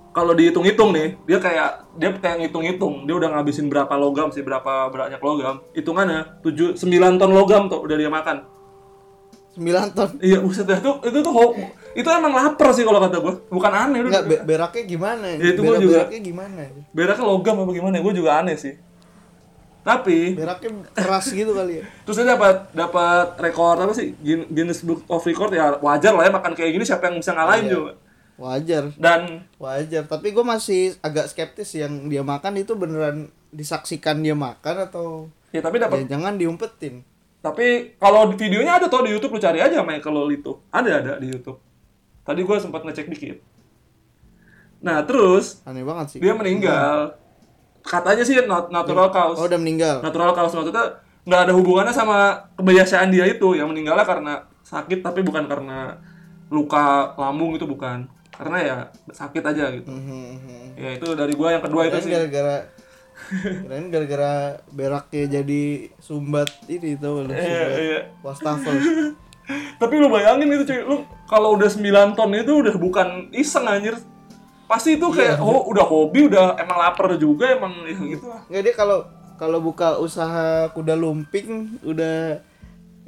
[SPEAKER 2] Kalau dihitung-hitung nih, dia kayak dia kayak ngitung-hitung, dia udah ngabisin berapa logam sih, berapa banyak logam. Hitungannya 7 9 ton logam tuh udah dia makan.
[SPEAKER 1] 9 ton.
[SPEAKER 2] Iya, buset dah itu itu tuh ho- itu emang lapar sih kalau kata gua. Bukan aneh udah.
[SPEAKER 1] Enggak be- beraknya gimana?
[SPEAKER 2] Ya, itu gua juga.
[SPEAKER 1] beraknya gimana? ya?
[SPEAKER 2] Beraknya logam apa gimana? Gue juga aneh sih. Tapi
[SPEAKER 1] Beraknya keras gitu kali ya.
[SPEAKER 2] Terus dia dapat dapat rekor apa sih Gin- Guinness Book of Record ya wajar lah ya makan kayak gini siapa yang bisa ngalahin juga.
[SPEAKER 1] Wajar.
[SPEAKER 2] Dan
[SPEAKER 1] Wajar, tapi gue masih agak skeptis yang dia makan itu beneran disaksikan dia makan atau
[SPEAKER 2] ya tapi dapat
[SPEAKER 1] ya jangan diumpetin.
[SPEAKER 2] tapi kalau di videonya ada tuh di YouTube lu cari aja Michael itu. Ada ada di YouTube. Tadi gua sempat ngecek dikit. Nah, terus
[SPEAKER 1] Aneh banget sih.
[SPEAKER 2] dia meninggal. Katanya sih nat- natural cause.
[SPEAKER 1] Oh, udah meninggal.
[SPEAKER 2] Natural cause maksudnya nggak ada hubungannya sama kebiasaan dia itu yang meninggalnya karena sakit tapi bukan karena luka lambung itu bukan. Karena ya sakit aja gitu.
[SPEAKER 1] Mhm.
[SPEAKER 2] Ya itu dari gua yang kedua itu
[SPEAKER 1] Kirain
[SPEAKER 2] sih.
[SPEAKER 1] gara-gara kirain gara-gara beraknya jadi sumbat ini tau lu.
[SPEAKER 2] Iya, iya.
[SPEAKER 1] Wastafel.
[SPEAKER 2] Tapi lu bayangin itu cuy, lu kalau udah 9 ton itu udah bukan iseng anjir. Pasti itu
[SPEAKER 1] Iya.
[SPEAKER 2] kayak oh, udah hobi, udah emang lapar juga emang ya gitu lah.
[SPEAKER 1] Enggak dia kalau kalau buka usaha kuda lumping udah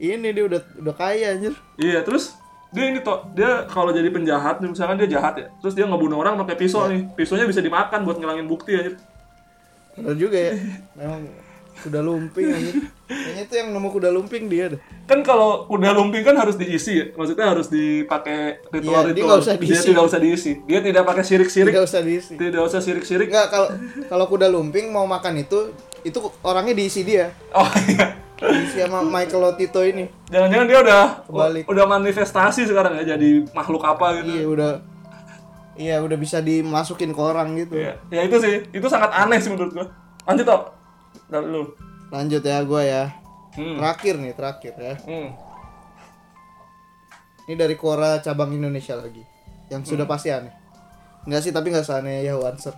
[SPEAKER 1] ini dia udah udah kaya anjir.
[SPEAKER 2] Iya, terus dia ini toh, dia kalau jadi penjahat, misalkan dia jahat ya, terus dia ngebunuh orang pakai pisau
[SPEAKER 1] Iya.
[SPEAKER 2] nih, pisaunya bisa dimakan buat ngilangin bukti anjir.
[SPEAKER 1] Bener juga ya. Memang kuda lumping anjir. Kayaknya itu yang nemu kuda lumping dia deh.
[SPEAKER 2] Kan kalau kuda lumping kan harus diisi ya, maksudnya harus dipakai ritual
[SPEAKER 1] Iya, dia
[SPEAKER 2] ritual.
[SPEAKER 1] nggak usah diisi.
[SPEAKER 2] tidak usah diisi. Dia tidak pakai sirik-sirik,
[SPEAKER 1] Enggak usah diisi.
[SPEAKER 2] tidak usah sirik-sirik.
[SPEAKER 1] Enggak kalau kalau kuda lumping mau makan itu itu orangnya diisi dia.
[SPEAKER 2] Oh iya.
[SPEAKER 1] Diisi sama Michael Lotito ini.
[SPEAKER 2] Jangan-jangan dia udah
[SPEAKER 1] Kebalik.
[SPEAKER 2] udah manifestasi sekarang ya jadi makhluk apa gitu.
[SPEAKER 1] Iya udah Iya udah bisa dimasukin ke orang gitu.
[SPEAKER 2] Iya. Ya itu sih, itu sangat aneh sih menurut gua. Lanjut toh. Dari lu.
[SPEAKER 1] Lanjut ya gua ya.
[SPEAKER 2] Hmm.
[SPEAKER 1] Terakhir nih, terakhir ya.
[SPEAKER 2] Hmm. Hmm.
[SPEAKER 1] Ini dari Quora cabang Indonesia lagi. Yang sudah pasti aneh. Enggak sih, tapi nggak seaneh ya, Yahoo Answer.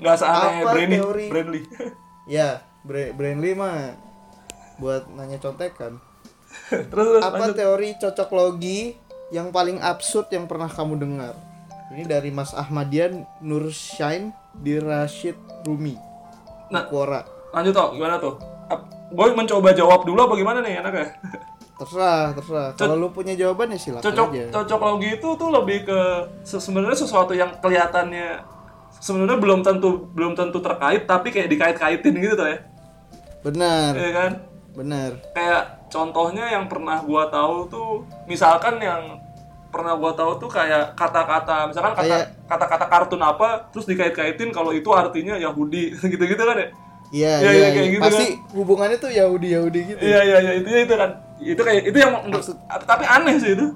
[SPEAKER 2] Nggak seaneh
[SPEAKER 1] Apa
[SPEAKER 2] Brandy,
[SPEAKER 1] teori?
[SPEAKER 2] Brandy.
[SPEAKER 1] ya, Bra- Brainly mah buat nanya contekan.
[SPEAKER 2] [laughs] terus terus
[SPEAKER 1] Apa
[SPEAKER 2] lanjut.
[SPEAKER 1] teori cocok logi yang paling absurd yang pernah kamu dengar? Ini dari Mas Ahmadian Nurshain di Rashid Rumi.
[SPEAKER 2] Nah.
[SPEAKER 1] Quora.
[SPEAKER 2] Lanjut toh, gimana tuh? Ap- Boy mencoba jawab dulu apa gimana nih ya? enaknya?
[SPEAKER 1] Terserah, terserah. Kalau lu punya jawaban ya silakan
[SPEAKER 2] cocok
[SPEAKER 1] aja.
[SPEAKER 2] cocok logi itu tuh lebih ke se- sebenarnya sesuatu yang kelihatannya sebenarnya belum tentu belum tentu terkait tapi kayak dikait-kaitin gitu tuh ya.
[SPEAKER 1] Benar,
[SPEAKER 2] Iya kan?
[SPEAKER 1] benar.
[SPEAKER 2] Kayak contohnya yang pernah gua tahu tuh misalkan yang pernah gua tahu tuh kayak kata-kata misalkan kata
[SPEAKER 1] Kayak-
[SPEAKER 2] kata-kata kartun apa terus dikait-kaitin kalau itu artinya Yahudi [laughs] gitu-gitu kan ya.
[SPEAKER 1] Iya,
[SPEAKER 2] Iya,
[SPEAKER 1] iya.
[SPEAKER 2] iya, kayak
[SPEAKER 1] iya.
[SPEAKER 2] gitu
[SPEAKER 1] Pasti hubungannya tuh Yahudi Yahudi gitu.
[SPEAKER 2] Iya iya iya itu itu kan. Itu kayak itu yang untuk
[SPEAKER 1] Maksud-
[SPEAKER 2] tapi aneh sih itu.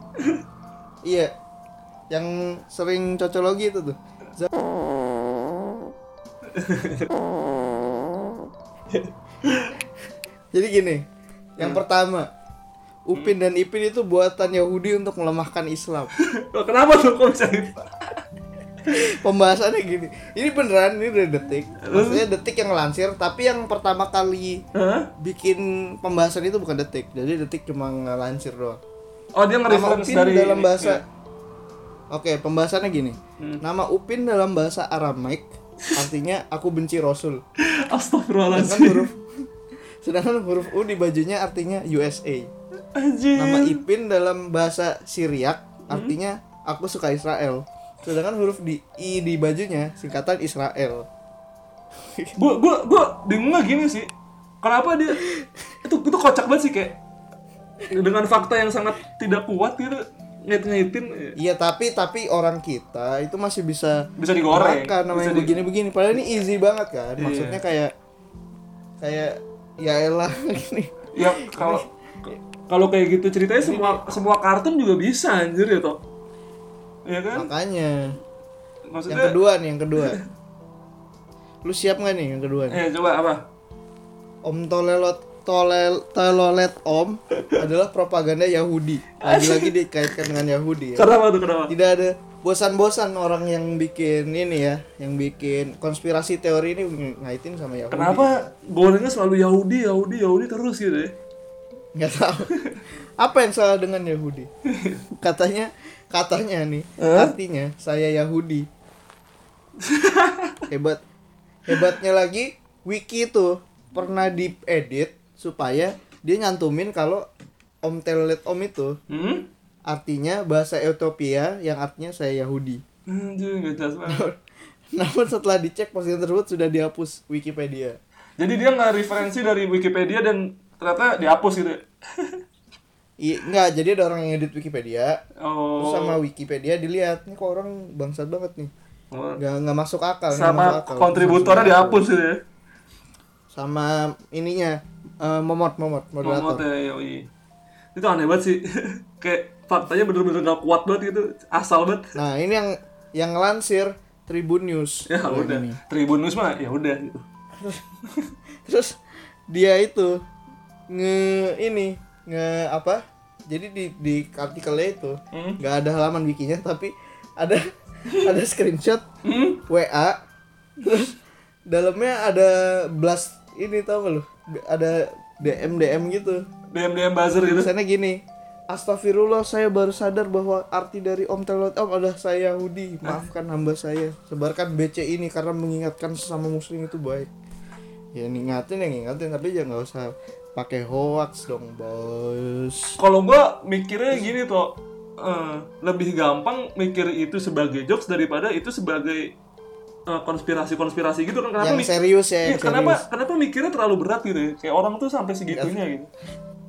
[SPEAKER 2] [laughs]
[SPEAKER 1] Iya. Yang sering cocologi itu tuh. Za- Jadi gini, yang pertama, Upin dan Ipin itu buatan Yahudi untuk melemahkan Islam.
[SPEAKER 2] Loh, kenapa tuh kok bisa gitu?
[SPEAKER 1] Pembahasannya gini. Ini beneran ini dari detik. Maksudnya detik yang lansir, tapi yang pertama kali
[SPEAKER 2] Hah?
[SPEAKER 1] bikin pembahasan itu bukan detik. Jadi detik cuma ngelansir doang.
[SPEAKER 2] Oh dia
[SPEAKER 1] Nama
[SPEAKER 2] nge-reference
[SPEAKER 1] Upin
[SPEAKER 2] dari
[SPEAKER 1] dalam
[SPEAKER 2] ini. Iya.
[SPEAKER 1] bahasa Oke, pembahasannya gini.
[SPEAKER 2] Hmm.
[SPEAKER 1] Nama Upin dalam bahasa Aramaik artinya aku benci Rasul.
[SPEAKER 2] Ya.
[SPEAKER 1] Sedangkan
[SPEAKER 2] [laughs] Astagfirullahaladzim.
[SPEAKER 1] huruf Sedangkan huruf U di bajunya artinya USA.
[SPEAKER 2] Anjir.
[SPEAKER 1] Nama Ipin dalam bahasa Siriak
[SPEAKER 2] Hmm.
[SPEAKER 1] artinya aku suka Israel. Sedangkan huruf di I di bajunya singkatan Israel.
[SPEAKER 2] Gua gua gua bingungnya gini sih. Kenapa dia itu itu kocak banget sih kayak dengan fakta yang sangat tidak kuat gitu ngait-ngaitin
[SPEAKER 1] Iya, tapi tapi orang kita itu masih bisa
[SPEAKER 2] bisa digoreng.
[SPEAKER 1] makan namanya gitu.
[SPEAKER 2] Bisa di-
[SPEAKER 1] begini-begini padahal ini easy banget kan
[SPEAKER 2] Iya.
[SPEAKER 1] maksudnya kayak kayak ya elah [laughs] gini
[SPEAKER 2] Ya kalau kalau kayak gitu ceritanya semua semua kartun juga bisa anjir ya toh. Iya kan?
[SPEAKER 1] makanya yang
[SPEAKER 2] Maksudnya
[SPEAKER 1] kedua nih yang kedua lu siap nggak nih yang kedua nih?
[SPEAKER 2] eh coba apa?
[SPEAKER 1] om tolelot tolel telolet om adalah propaganda Yahudi lagi-lagi dikaitkan dengan Yahudi ya.
[SPEAKER 2] Kenapa tuh kenapa?
[SPEAKER 1] tidak ada bosan-bosan orang yang bikin ini ya yang bikin konspirasi teori ini ng- ngaitin sama Yahudi
[SPEAKER 2] Kenapa gorengnya selalu Yahudi, Yahudi, Yahudi terus gitu ya?
[SPEAKER 1] nggak tahu apa yang salah dengan Yahudi katanya katanya nih artinya saya Yahudi hebat hebatnya lagi wiki itu pernah diedit supaya dia nyantumin kalau Om Telet Om itu
[SPEAKER 2] Hmm?
[SPEAKER 1] artinya bahasa Ethiopia yang artinya saya Yahudi [laughs]
[SPEAKER 2] Anjir, gak jelas banget.
[SPEAKER 1] namun setelah dicek postingan tersebut sudah dihapus Wikipedia
[SPEAKER 2] Jadi dia nggak referensi dari Wikipedia dan ternyata dihapus gitu. ya?
[SPEAKER 1] I, enggak, jadi ada orang yang edit Wikipedia
[SPEAKER 2] Oh.
[SPEAKER 1] Terus sama Wikipedia dilihat nih kok orang bangsat banget nih.
[SPEAKER 2] Oh.
[SPEAKER 1] Nggak nggak masuk akal. nggak masuk
[SPEAKER 2] Sama
[SPEAKER 1] akal.
[SPEAKER 2] kontributornya dihapus gitu ya.
[SPEAKER 1] Sama ininya eh, momot momot
[SPEAKER 2] Momot
[SPEAKER 1] moderator.
[SPEAKER 2] ya, yoi. Itu aneh banget sih. [laughs] Kayak faktanya bener-bener nggak kuat banget gitu. Asal banget.
[SPEAKER 1] Nah ini yang yang lansir Tribun News.
[SPEAKER 2] Ya
[SPEAKER 1] Kalau
[SPEAKER 2] udah.
[SPEAKER 1] ini.
[SPEAKER 2] Tribun News mah ya udah. gitu.
[SPEAKER 1] Terus dia itu nge ini nge apa? Jadi di di artikelnya itu
[SPEAKER 2] Hmm?
[SPEAKER 1] nggak ada halaman wikinya tapi ada [laughs] ada screenshot
[SPEAKER 2] Hmm?
[SPEAKER 1] WA terus dalamnya ada blast ini tau gak lu B- ada DM DM gitu
[SPEAKER 2] DM-DM buzzer gitu.
[SPEAKER 1] tulisannya gini Astagfirullah saya baru sadar bahwa arti dari Om Telot Om adalah saya Yahudi maafkan hamba saya sebarkan BC ini karena mengingatkan sesama muslim itu baik ya ngingatin ya ngingatin tapi ya nggak usah pakai hoax dong bos
[SPEAKER 2] Kalau gua mikirnya gini tuh. eh, lebih gampang mikir itu sebagai jokes daripada itu sebagai eh, konspirasi-konspirasi gitu kan kenapa
[SPEAKER 1] yang
[SPEAKER 2] mik-
[SPEAKER 1] serius ya
[SPEAKER 2] Iya,
[SPEAKER 1] yang
[SPEAKER 2] kenapa
[SPEAKER 1] serius
[SPEAKER 2] kenapa mikirnya terlalu berat gitu ya? Kayak orang tuh sampai segitunya
[SPEAKER 1] Iya.
[SPEAKER 2] gitu.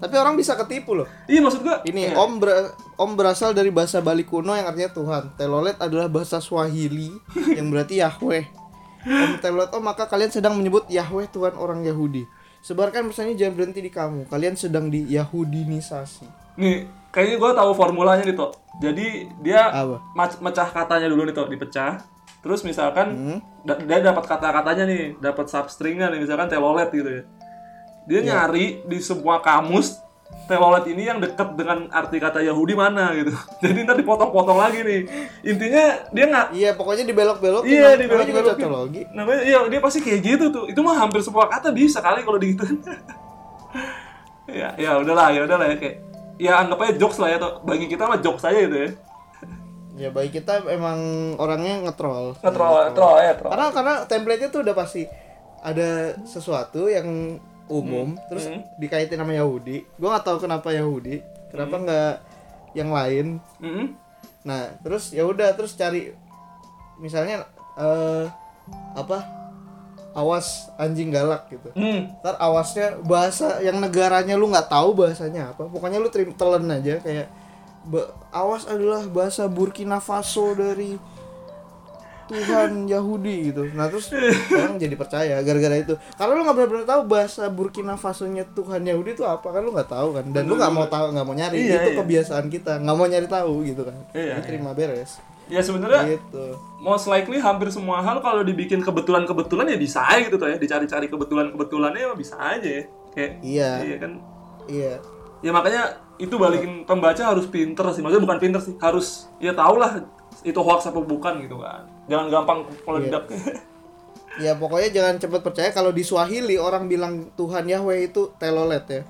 [SPEAKER 1] tapi orang bisa ketipu loh
[SPEAKER 2] Iya maksud gua
[SPEAKER 1] Ini
[SPEAKER 2] kayak-
[SPEAKER 1] Om ber- Om berasal dari bahasa Bali kuno yang artinya Tuhan. Telolet adalah bahasa Swahili
[SPEAKER 2] [laughs]
[SPEAKER 1] yang berarti Yahweh. Om Telolet Om maka kalian sedang menyebut Yahweh Tuhan orang Yahudi. Sebarkan pesannya jangan berhenti di kamu. Kalian sedang di Yahudinisasi.
[SPEAKER 2] nih kayaknya gua tahu formulanya nih Tok. Jadi dia
[SPEAKER 1] Apa?
[SPEAKER 2] mac- mecah katanya dulu nih Tok, dipecah. Terus
[SPEAKER 1] Hmm?
[SPEAKER 2] misalkan da- dia dapat kata-katanya
[SPEAKER 1] Iya.
[SPEAKER 2] nih, dapat substringnya nih misalkan telolet gitu ya. Dia nyari di sebuah kamus teololet ini yang dekat dengan arti kata Yahudi mana gitu. [laughs] Jadi ntar dipotong-potong lagi nih. Intinya dia nggak
[SPEAKER 1] Iya, pokoknya dibelok-belok.
[SPEAKER 2] Iya,
[SPEAKER 1] juga
[SPEAKER 2] dibelok-belokin.
[SPEAKER 1] cocologi.
[SPEAKER 2] namanya iya dia pasti kayak gitu tuh. Itu mah hampir semua kata bisa kali kalau digituin. [laughs] ya ya udahlah ya udahlah ya kayak ya anggap aja jokes lah ya toh. bagi kita mah jokes aja gitu ya
[SPEAKER 1] Ya baik kita emang orangnya ngetrol.
[SPEAKER 2] ngetrol ngetrol ya troll
[SPEAKER 1] Karena karena template-nya tuh udah pasti ada sesuatu yang umum terus
[SPEAKER 2] Hmm.
[SPEAKER 1] dikaitin sama Yahudi. Gua nggak tahu kenapa Yahudi.
[SPEAKER 2] Hmm.
[SPEAKER 1] Kenapa nggak yang lain?
[SPEAKER 2] Mm-mm.
[SPEAKER 1] Nah, terus ya udah terus cari misalnya eh apa? Awas anjing galak gitu.
[SPEAKER 2] Hmm.
[SPEAKER 1] Ntar awasnya bahasa yang negaranya lu nggak tahu bahasanya apa. Pokoknya lu terim telen aja kayak "Ba- awas adalah bahasa Burkina Faso dari
[SPEAKER 2] [laughs]
[SPEAKER 1] Tuhan Yahudi gitu. Nah terus orang jadi percaya gara-gara itu. Karena lu nggak benar-benar tahu bahasa Burkina Fasonya Tuhan Yahudi itu apa kan lu nggak tahu kan. Dan lu nggak mau tahu nggak mau nyari.
[SPEAKER 2] Iya,
[SPEAKER 1] itu
[SPEAKER 2] iya.
[SPEAKER 1] kebiasaan kita nggak mau nyari tahu gitu kan.
[SPEAKER 2] Iya,
[SPEAKER 1] Jadi terima beres.
[SPEAKER 2] ya sebenarnya
[SPEAKER 1] Gitu.
[SPEAKER 2] most likely hampir semua hal kalau dibikin kebetulan-kebetulan ya bisa aja gitu tuh ya dicari-cari kebetulan-kebetulannya ya bisa aja ya kayak
[SPEAKER 1] Iya
[SPEAKER 2] iya kan
[SPEAKER 1] iya.
[SPEAKER 2] ya makanya itu balikin pembaca harus pinter sih maksudnya bukan pinter sih harus ya tau lah itu hoax apa bukan gitu kan jangan gampang meledak [laughs]
[SPEAKER 1] Ya pokoknya jangan cepat percaya kalau di Swahili orang bilang Tuhan Yahweh itu telolet ya.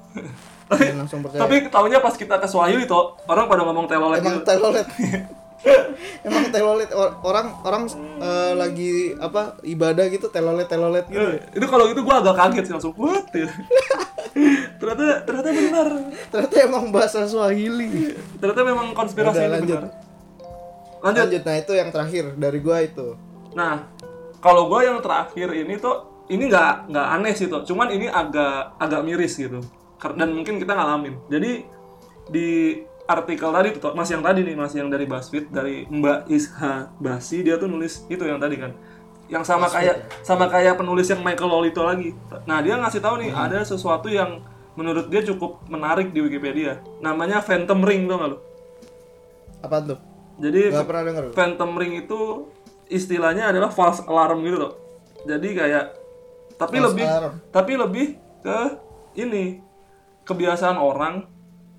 [SPEAKER 1] Jangan langsung percaya.
[SPEAKER 2] [laughs] tapi taunya pas kita ke Swahili toh orang pada ngomong telolet
[SPEAKER 1] Emang
[SPEAKER 2] gitu
[SPEAKER 1] telolet. [laughs] Emang telolet Or- orang orang eh, lagi apa ibadah gitu telolet telolet gitu.
[SPEAKER 2] Eh, itu kalau gitu gua agak kaget sih langsung what [laughs] gitu. ternyata ternyata benar
[SPEAKER 1] Ternyata emang bahasa Swahili.
[SPEAKER 2] ternyata memang konspirasi
[SPEAKER 1] Udah,
[SPEAKER 2] ini
[SPEAKER 1] lanjut.
[SPEAKER 2] benar lanjut
[SPEAKER 1] Lanjut nah itu yang terakhir dari gua itu.
[SPEAKER 2] Nah, kalau gue yang terakhir ini tuh ini nggak nggak aneh sih tuh, cuman ini agak agak miris gitu. Ker- Dan mungkin kita ngalamin. Jadi di artikel tadi tuh, Tok, Mas yang tadi nih, Mas yang dari BuzzFeed dari Mbak Isha Basi dia tuh nulis itu yang tadi kan. Yang sama kayak sama kayak penulis yang Michael Lolito lagi. Nah, dia ngasih tahu nih ada sesuatu yang menurut dia cukup menarik di Wikipedia. Namanya Phantom Ring tuh nggak lo?
[SPEAKER 1] Apa tuh?
[SPEAKER 2] Jadi
[SPEAKER 1] Gak pernah denger. gua.
[SPEAKER 2] Phantom Ring itu istilahnya adalah false alarm gitu loh. Jadi kayak tapi
[SPEAKER 1] False
[SPEAKER 2] lebih
[SPEAKER 1] alarm.
[SPEAKER 2] tapi lebih ke ini kebiasaan orang.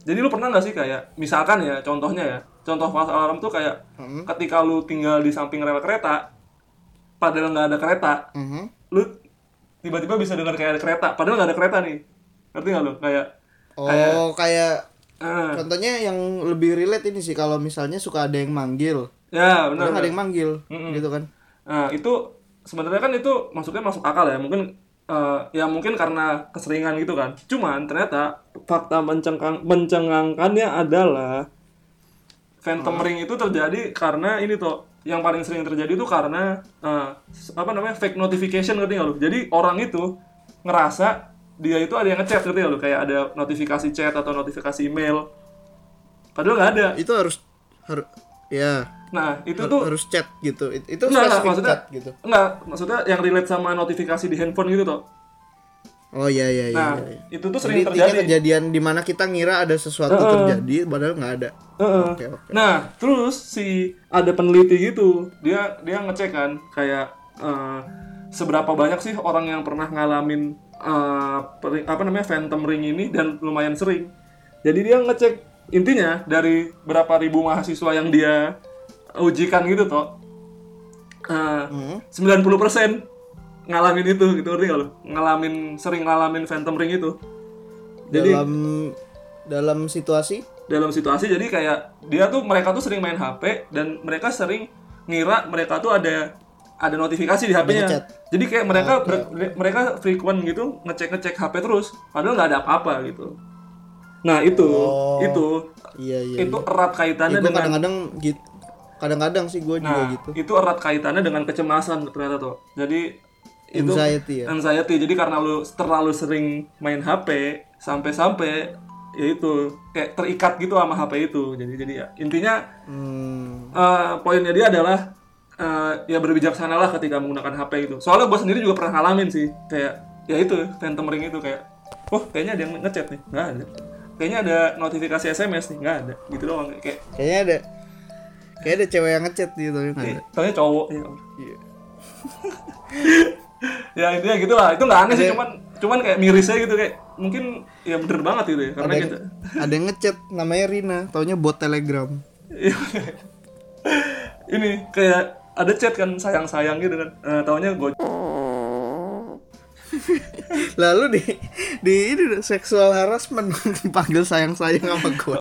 [SPEAKER 2] Jadi lu pernah nggak sih kayak misalkan ya contohnya ya contoh false alarm tuh kayak
[SPEAKER 1] Hmm.
[SPEAKER 2] ketika lu tinggal di samping rel kereta padahal nggak ada kereta
[SPEAKER 1] Mhm.
[SPEAKER 2] lu tiba-tiba bisa dengar kayak ada kereta padahal nggak ada kereta nih ngerti nggak lu kayak
[SPEAKER 1] Oh kayak
[SPEAKER 2] eh,
[SPEAKER 1] contohnya yang lebih relate ini sih kalau misalnya suka ada yang manggil.
[SPEAKER 2] ya benar
[SPEAKER 1] Kadang ada yang manggil gitu kan.
[SPEAKER 2] Nah, itu sebenarnya kan itu maksudnya masuk akal ya. Mungkin eh, ya mungkin karena keseringan gitu kan. Cuman ternyata fakta mencengkang mencengangkannya adalah phantom ring itu terjadi karena ini tuh yang paling sering terjadi itu karena eh, apa namanya fake notification ngerti nggak lu? Jadi orang itu ngerasa dia itu ada yang ngechat ngerti nggak lu? Kayak ada notifikasi chat atau notifikasi email. Padahal nggak ada.
[SPEAKER 1] Itu harus harus ya
[SPEAKER 2] Nah, itu
[SPEAKER 1] Har-
[SPEAKER 2] tuh
[SPEAKER 1] harus chat gitu It- itu
[SPEAKER 2] Enggak, enggak,
[SPEAKER 1] spesifik
[SPEAKER 2] maksudnya-
[SPEAKER 1] chat gitu
[SPEAKER 2] enggak maksudnya yang relate sama notifikasi di handphone gitu toh.
[SPEAKER 1] oh iya iya iya,
[SPEAKER 2] Nah,
[SPEAKER 1] iya, iya.
[SPEAKER 2] itu tuh
[SPEAKER 1] Jadi
[SPEAKER 2] sering
[SPEAKER 1] intinya
[SPEAKER 2] terjadi.
[SPEAKER 1] kejadian dimana kita ngira ada sesuatu
[SPEAKER 2] Heeh.
[SPEAKER 1] terjadi padahal nggak ada
[SPEAKER 2] Heeh.
[SPEAKER 1] oke oke
[SPEAKER 2] Nah, terus si ada peneliti gitu, dia dia ngecek kan kayak eh, seberapa banyak sih orang yang pernah ngalamin eh, peri- apa namanya phantom ring ini dan lumayan sering. Jadi dia ngecek intinya dari berapa ribu mahasiswa yang dia ujikan gitu toh. eh,
[SPEAKER 1] Hmm.
[SPEAKER 2] 90% ngalamin itu gitu ngerti nggak lo? Ngalamin sering ngalamin phantom ring itu. Jadi
[SPEAKER 1] dalam dalam situasi
[SPEAKER 2] dalam situasi jadi kayak dia tuh mereka tuh sering main HP dan mereka sering ngira mereka tuh ada ada notifikasi di
[SPEAKER 1] ngechat.
[SPEAKER 2] HP-nya. Jadi kayak mereka ber- mereka frequent gitu ngecek-ngecek HP terus padahal nggak ada apa-apa gitu. Nah, itu
[SPEAKER 1] Oh.
[SPEAKER 2] itu
[SPEAKER 1] iya iya
[SPEAKER 2] itu erat kaitannya
[SPEAKER 1] gue
[SPEAKER 2] dengan
[SPEAKER 1] kadang-kadang gitu kadang-kadang sih gue juga
[SPEAKER 2] nah,
[SPEAKER 1] gitu
[SPEAKER 2] itu erat kaitannya dengan kecemasan ternyata tuh. Jadi itu
[SPEAKER 1] anxiety ya
[SPEAKER 2] anxiety. Jadi karena lu terlalu sering main HP sampai-sampai ya itu kayak terikat gitu sama HP itu. Jadi jadi ya intinya
[SPEAKER 1] hmm,
[SPEAKER 2] Eh, poinnya dia adalah eh, ya berbijaksanalah ketika menggunakan HP gitu. Soalnya gue sendiri juga pernah ngalamin sih kayak ya itu phantom ring itu kayak oh kayaknya ada yang ngechat nih nggak ada kayaknya ada notifikasi SMS nih nggak ada gitu doang kayak
[SPEAKER 1] kayaknya ada kayaknya ada cewek yang ngechat gitu tapi nggak ada.
[SPEAKER 2] eh, taunya cowok ya [laughs]
[SPEAKER 1] Iya.
[SPEAKER 2] ya intinya gitulah itu nggak aneh sih cuman cuman kayak mirisnya gitu kayak mungkin ya bener banget gitu ya karena
[SPEAKER 1] ada,
[SPEAKER 2] kita
[SPEAKER 1] ada yang ngechat namanya Rina taunya bot telegram
[SPEAKER 2] Iya. [laughs] ini kayak ada chat kan sayang-sayang gitu kan Eh, taunya gue
[SPEAKER 1] [laughs] lalu di di ini seksual harassment [laughs] panggil sayang sayang sama gua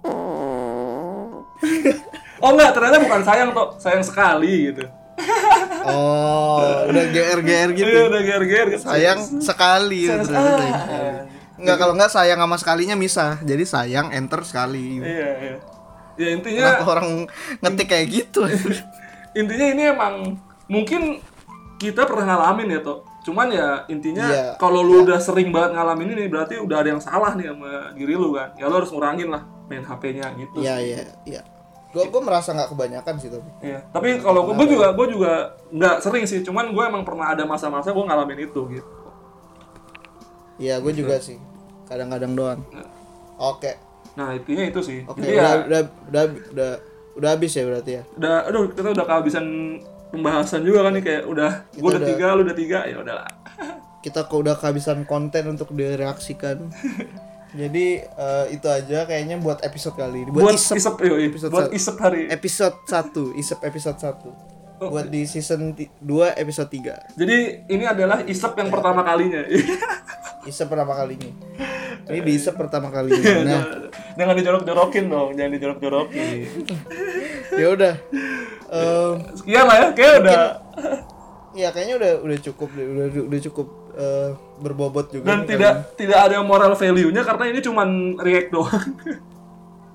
[SPEAKER 2] oh enggak ternyata bukan sayang toh sayang sekali gitu
[SPEAKER 1] oh udah gr gr gitu
[SPEAKER 2] iya udah ger-ger gitu.
[SPEAKER 1] sayang sekali ya, ternyata sayang sekali.
[SPEAKER 2] Ah.
[SPEAKER 1] Enggak kalau enggak sayang sama sekalinya misah. Jadi sayang enter sekali.
[SPEAKER 2] iya iya ya intinya
[SPEAKER 1] Kenapa orang ngetik kayak [laughs] gitu?
[SPEAKER 2] intinya ini emang mungkin kita pernah ngalamin ya toh cuman ya intinya
[SPEAKER 1] Iya.
[SPEAKER 2] kalau lu udah sering banget ngalamin ini berarti udah ada yang salah nih sama diri lu kan ya lu harus ngurangin lah main HP-nya gitu
[SPEAKER 1] Iya iya iya. Gua gua merasa nggak kebanyakan sih tapi.
[SPEAKER 2] Iya, tapi kalau gue juga gue juga nggak sering sih, cuman gue emang pernah ada masa-masa gue ngalamin itu gitu.
[SPEAKER 1] Iya, gue juga sih. Kadang-kadang doang. Oke.
[SPEAKER 2] Nah intinya itu sih.
[SPEAKER 1] Oke,
[SPEAKER 2] Jadi
[SPEAKER 1] udah,
[SPEAKER 2] ya
[SPEAKER 1] udah udah udah udah habis ya berarti ya.
[SPEAKER 2] udah, aduh kita udah kehabisan pembahasan juga kan nih kayak udah gue udah tiga, lu udah tiga, ya udahlah.
[SPEAKER 1] Kita kok udah kehabisan konten untuk
[SPEAKER 2] [laughs]
[SPEAKER 1] direaksikan. Jadi eh, itu aja kayaknya buat episode kali ini. Buat,
[SPEAKER 2] Buat
[SPEAKER 1] isep
[SPEAKER 2] isep, yoi.
[SPEAKER 1] episode
[SPEAKER 2] buat
[SPEAKER 1] satu.
[SPEAKER 2] isep hari.
[SPEAKER 1] episode 1, isep episode 1.
[SPEAKER 2] Oh.
[SPEAKER 1] Buat di season 2 episode 3.
[SPEAKER 2] Jadi ini adalah isep
[SPEAKER 1] Iya.
[SPEAKER 2] yang pertama kalinya.
[SPEAKER 1] Isep pertama kalinya. Ini di isep pertama
[SPEAKER 2] [laughs]
[SPEAKER 1] kalinya. Nah,
[SPEAKER 2] [laughs] jangan dijorok-jorokin dong, jangan dijorok-jorokin.
[SPEAKER 1] ya udah. Em,
[SPEAKER 2] Sekian lah ya, kayak udah.
[SPEAKER 1] ya kayaknya udah udah cukup deh, udah udah cukup eh, berbobot juga.
[SPEAKER 2] Dan
[SPEAKER 1] nih
[SPEAKER 2] tidak tidak ada moral value-nya karena ini cuman react doang.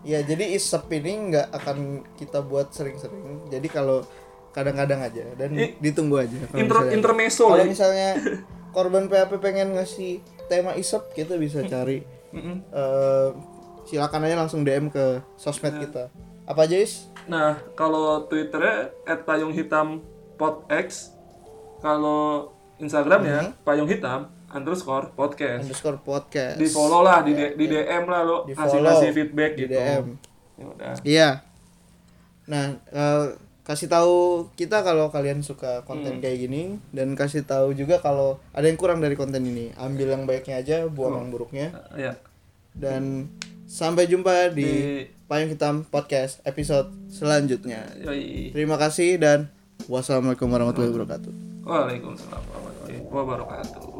[SPEAKER 1] Ya jadi isep ini nggak akan kita buat sering-sering. Jadi kalau kadang-kadang aja dan ditunggu aja. Kalau
[SPEAKER 2] Inter
[SPEAKER 1] misalnya,
[SPEAKER 2] intermeso
[SPEAKER 1] Oh, kalau
[SPEAKER 2] ya.
[SPEAKER 1] misalnya korban PHP pengen ngasih tema isep, kita bisa cari. Eh, silakan aja langsung DM ke sosmed kita. Apa aja is?
[SPEAKER 2] Nah, kalau Twitternya @payunghitam_podx, kalau
[SPEAKER 1] Hmm.
[SPEAKER 2] Instagramnya payunghitam underscore podcast.
[SPEAKER 1] Underscore podcast.
[SPEAKER 2] Di follow lah, di, di DM lah lo
[SPEAKER 1] Iya, Di
[SPEAKER 2] kasih
[SPEAKER 1] follow,
[SPEAKER 2] kasih feedback
[SPEAKER 1] di
[SPEAKER 2] gitu.
[SPEAKER 1] DM.
[SPEAKER 2] Ya udah.
[SPEAKER 1] Iya. Nah, eh, kasih tahu kita kalau kalian suka konten kayak gini dan kasih tahu juga kalau ada yang kurang dari konten ini. Ambil yang baiknya aja, buang yang buruknya
[SPEAKER 2] Ya.
[SPEAKER 1] dan sampai jumpa di,
[SPEAKER 2] Di-
[SPEAKER 1] Payung Hitam Podcast episode selanjutnya.
[SPEAKER 2] yoi.
[SPEAKER 1] Terima kasih dan wassalamualaikum warahmatullahi wabarakatuh.
[SPEAKER 2] Waalaikumsalam warahmatullahi wabarakatuh.